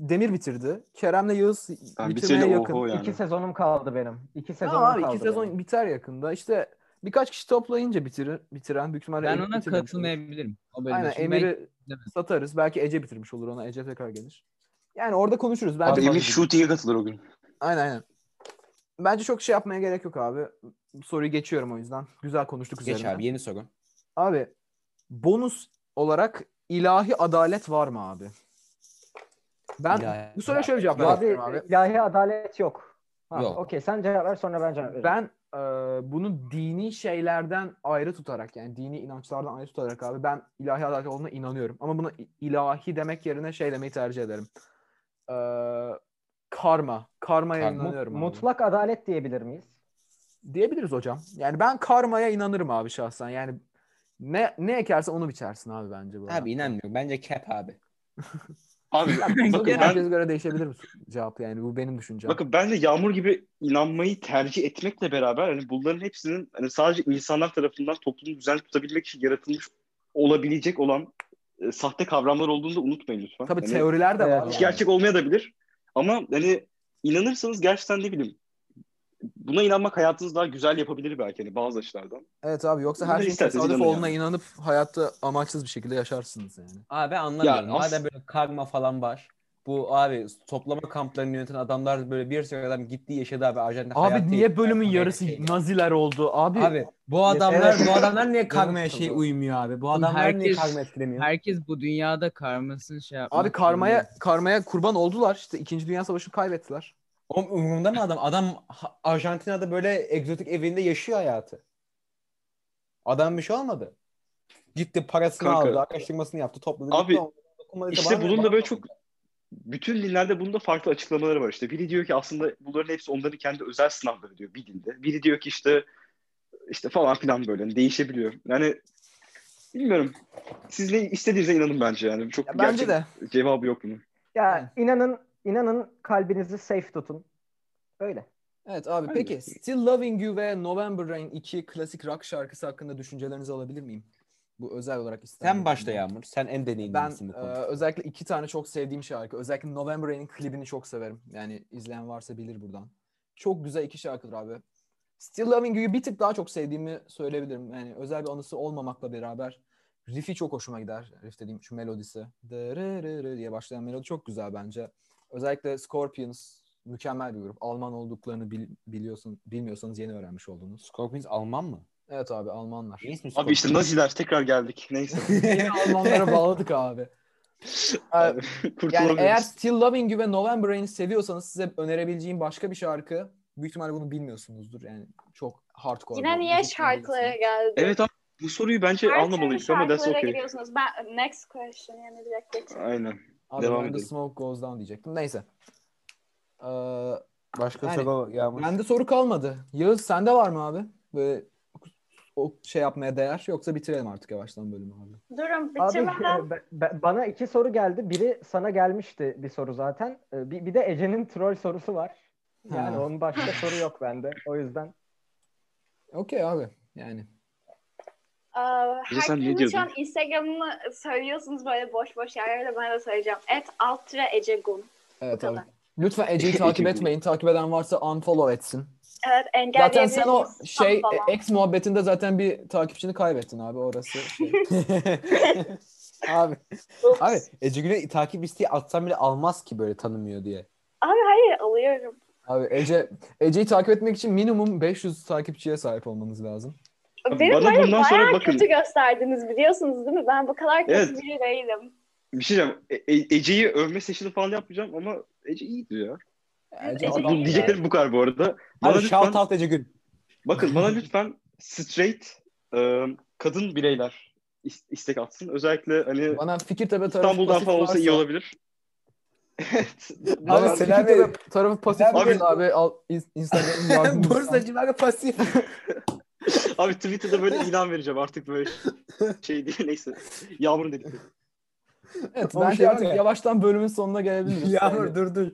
Demir bitirdi. Kerem'le Yağız Yani bitirmeye bitirdi, yakın. oho yani. İki sezonum kaldı benim. İki sezonum Tamam abi kaldı. iki sezon benim. biter yakında. İşte birkaç kişi toplayınca bitirir, bitiren büyük ihtimalle Ben Ece ona bitirmemiş olur. katılmayabilirim. O bölümde. Aynen Çünkü ben Emir'i izlemedim. satarız. Belki Ece bitirmiş olur ona. Ece tekrar gelir. Yani orada konuşuruz. Bence Abi Emir bak- shooting'e katılır o gün. Aynen aynen. Bence çok şey yapmaya gerek yok abi. Soruyu geçiyorum o yüzden. Güzel konuştuk Geç üzerine. abi yeni soru. Abi bonus olarak ilahi adalet var mı abi? Ben İlahi bu soruya şöyle cevap adalet vermek Abi, istiyorum abi. ilahi adalet yok. Ha, Yok. Okey sen cevap ver sonra ben cevap vereyim. Ben e, bunu dini şeylerden ayrı tutarak yani dini inançlardan ayrı tutarak abi ben ilahi adalet olduğuna inanıyorum. Ama buna i- ilahi demek yerine şey demeyi tercih ederim. E, karma. Karmaya Karma. inanıyorum abi. Mutlak adalet diyebilir miyiz? Diyebiliriz hocam. Yani ben karmaya inanırım abi şahsen. Yani ne ne ekersen onu biçersin abi bence bu. Abi inanmıyorum. Bence cap abi. Abi Bakın bakın ben, herkese göre değişebilir bu cevap yani bu benim düşüncem. bakın ben de Yağmur gibi inanmayı tercih etmekle beraber hani bunların hepsinin hani sadece insanlar tarafından toplumu düzenli tutabilmek için yaratılmış olabilecek olan e, sahte kavramlar olduğunu da unutmayın lütfen. Tabii Hani- teoriler de var. Evet. yani. Hiç gerçek olmaya da bilir. Ama hani inanırsanız gerçekten ne bileyim buna inanmak hayatınızı daha güzel yapabilir belki hani bazı açılardan. Evet abi yoksa her Bunları şeyin isterseniz tesadüf inanın olduğuna yani. inanıp hayatta amaçsız bir şekilde yaşarsınız yani. Abi ben anlamıyorum. Ya as- Madem böyle karma falan var. Bu abi toplama kamplarını yöneten adamlar böyle bir sürü adam gitti yaşadı abi. Arjantin hayatı Abi niye yaşadı. bölümün Karmaya yarısı şey- naziler oldu? Abi, Abi bu adamlar Evet. bu adamlar niye karmaya Evet. şey uymuyor abi? Bu adamlar niye herkes- karma etkilemiyor? Herkes bu dünyada karmasını şey yapmak. abi karmaya zorunda. karmaya kurban oldular. İşte 2. Dünya Savaşı'nı kaybettiler. Oğlum umurumda mı adam? Adam Ha- Arjantina'da böyle egzotik evinde yaşıyor hayatı. Adam bir şey olmadı. Gitti parasını Kanka. aldı, araştırmasını yaptı, topladı. Abi, gitti, dokunmadı, İşte bana ne, bunun bana da böyle ne? çok bütün dinlerde bunun da farklı açıklamaları var işte. Biri diyor ki aslında bunların hepsi onların kendi özel sınavları diyor bir dinde. Biri diyor ki işte işte falan filan böyle hani değişebiliyor. Yani bilmiyorum. Siz ne istediğinize inanın bence yani. Çok Ya bence gerçek de. cevabı yok bunun. Ya inanın inanın kalbinizi safe tutun. Öyle. Evet abi Bence de. peki Still Loving You ve November Rain 2 klasik rock şarkısı hakkında düşüncelerinizi alabilir miyim? Bu özel olarak Sen istenmiyor. başla Yağmur. Sen Ben en deneyimlisin bu e, konuda. özellikle iki tane çok sevdiğim şarkı. Özellikle November Rain'in klibini çok severim. Yani izleyen varsa bilir buradan. Çok güzel iki şarkıdır abi. Still Loving You'yu bir tık daha çok sevdiğimi söyleyebilirim. Yani özel bir anısı olmamakla beraber riff'i çok hoşuma gider. Riff dediğim şu melodisi. Dırırırı diye başlayan melodi çok güzel bence. Özellikle Scorpions mükemmel bir grup. Alman olduklarını bil- biliyorsun, bilmiyorsanız yeni öğrenmiş oldunuz. Scorpions Alman mı? Evet abi Almanlar. Ne ismi Abi işte Scorpions? Naziler tekrar geldik. Neyse. Yine Almanlara bağladık abi. Ee, Yani Kurtulamıyoruz. eğer Still Loving You ve November Rain'i seviyorsanız size önerebileceğim başka bir şarkı. Büyük ihtimalle bunu bilmiyorsunuzdur. Yani çok hardcore. Yine bir şey niye müzik şarkılara dinliyorsunuz. geldi? Evet abi bu soruyu bence Her almamalıyız türlü ama that's şarkılara okay. giriyorsunuz. Ben next question yani direkt geçeyim. Aynen. Abi Devam ben de edelim. Smoke Goes Down diyecektim. Neyse. Ee, Başka Yani, soru yağmur. Bende soru kalmadı. Yağız sende var mı abi? Böyle o şey yapmaya değer yoksa bitirelim artık yavaştan bölümü abi. Durun Abi bitirmeden e, be- be- bana iki soru geldi. Biri sana gelmişti bir soru zaten. E, Bir, bir de Ece'nin troll sorusu var. Yani Ha. onun başka soru yok bende. O yüzden Okey abi. Yani Aa, Bize sen ne herkesin Ee, şu an diyordun? Instagram'ını söylüyorsunuz böyle boş boş yerlerde ben de söyleyeceğim. Et Altra Ecegun. evet Bu abi. kadar. Lütfen Ece'yi takip etmeyin. Takip eden varsa unfollow etsin. Evet Zaten engelleyebilirsiniz. sen o şey falan. e, ex muhabbetinde zaten bir takipçini kaybettin abi orası. şey. abi, Ups. abi Ece Güne takip isteği atsam bile almaz ki böyle tanımıyor diye. Abi hayır alıyorum. Abi Ece Ece'yi takip etmek için minimum 500 takipçiye sahip olmanız lazım. Abi Benim bana böyle bundan bayağı sonra bakın. kötü gösterdiniz biliyorsunuz değil mi? Ben bu kadar kötü Evet. biri değilim. Bir şey diyeceğim. E- E- Ece'yi övme sesini falan yapmayacağım ama Ece iyiydi ya. Ece Ece adam- iyi. Diyeceklerim bu kadar bu arada. Bana Abi lütfen, shout out Ece Gün. bakın bana lütfen straight e, kadın bireyler is- istek atsın. Özellikle hani Bana Fikirtepe tarafı İstanbul'dan pasif falan olsa varsa- iyi olabilir. evet. Abi Abi, Selami- Selami tarafı pasif Selami- varsa abi al in- Instagram'ın yardımcısı. Cimer'e pasif. Abi Twitter'da böyle ilan vereceğim artık böyle şey diye neyse. Yağmurun dedik. Evet, Ama bence şey var artık ya- yavaştan bölümün sonuna gelebiliriz. Yağmur dur dur.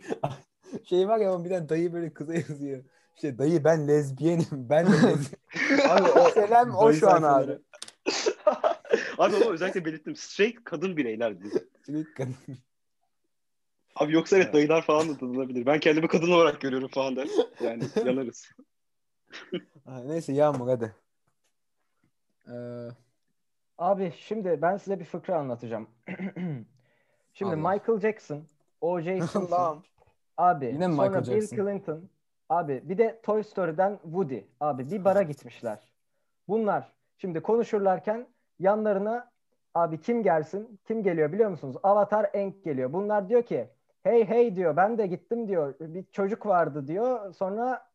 Şey var ya bir tane dayı böyle kıza yazıyor. İşte dayı ben lezbiyenim. Ben de lezbiyenim. Abi o Selam o Dayı şu an sayfaları. abi. Abi ama özellikle belirttim. Straight kadın bireyler diye. Çelik kadın. Abi yoksa evet dayılar falan da tanınabilir. Ben kendimi kadın olarak görüyorum falan der. Yani yanarız. Ha, Neyse Yağmur hadi. Ee, abi şimdi ben size bir fıkra anlatacağım. şimdi Allah. Michael Jackson, O.J. Simpson, Allah'ım. abi Yine mi sonra Michael Bill Jackson? Clinton, abi bir de Toy Story'den Woody, abi bir bara gitmişler. Bunlar şimdi konuşurlarken yanlarına abi kim gelsin, kim geliyor biliyor musunuz? Avatar Aang geliyor. Bunlar diyor ki hey hey diyor ben de gittim diyor bir çocuk vardı diyor. Sonra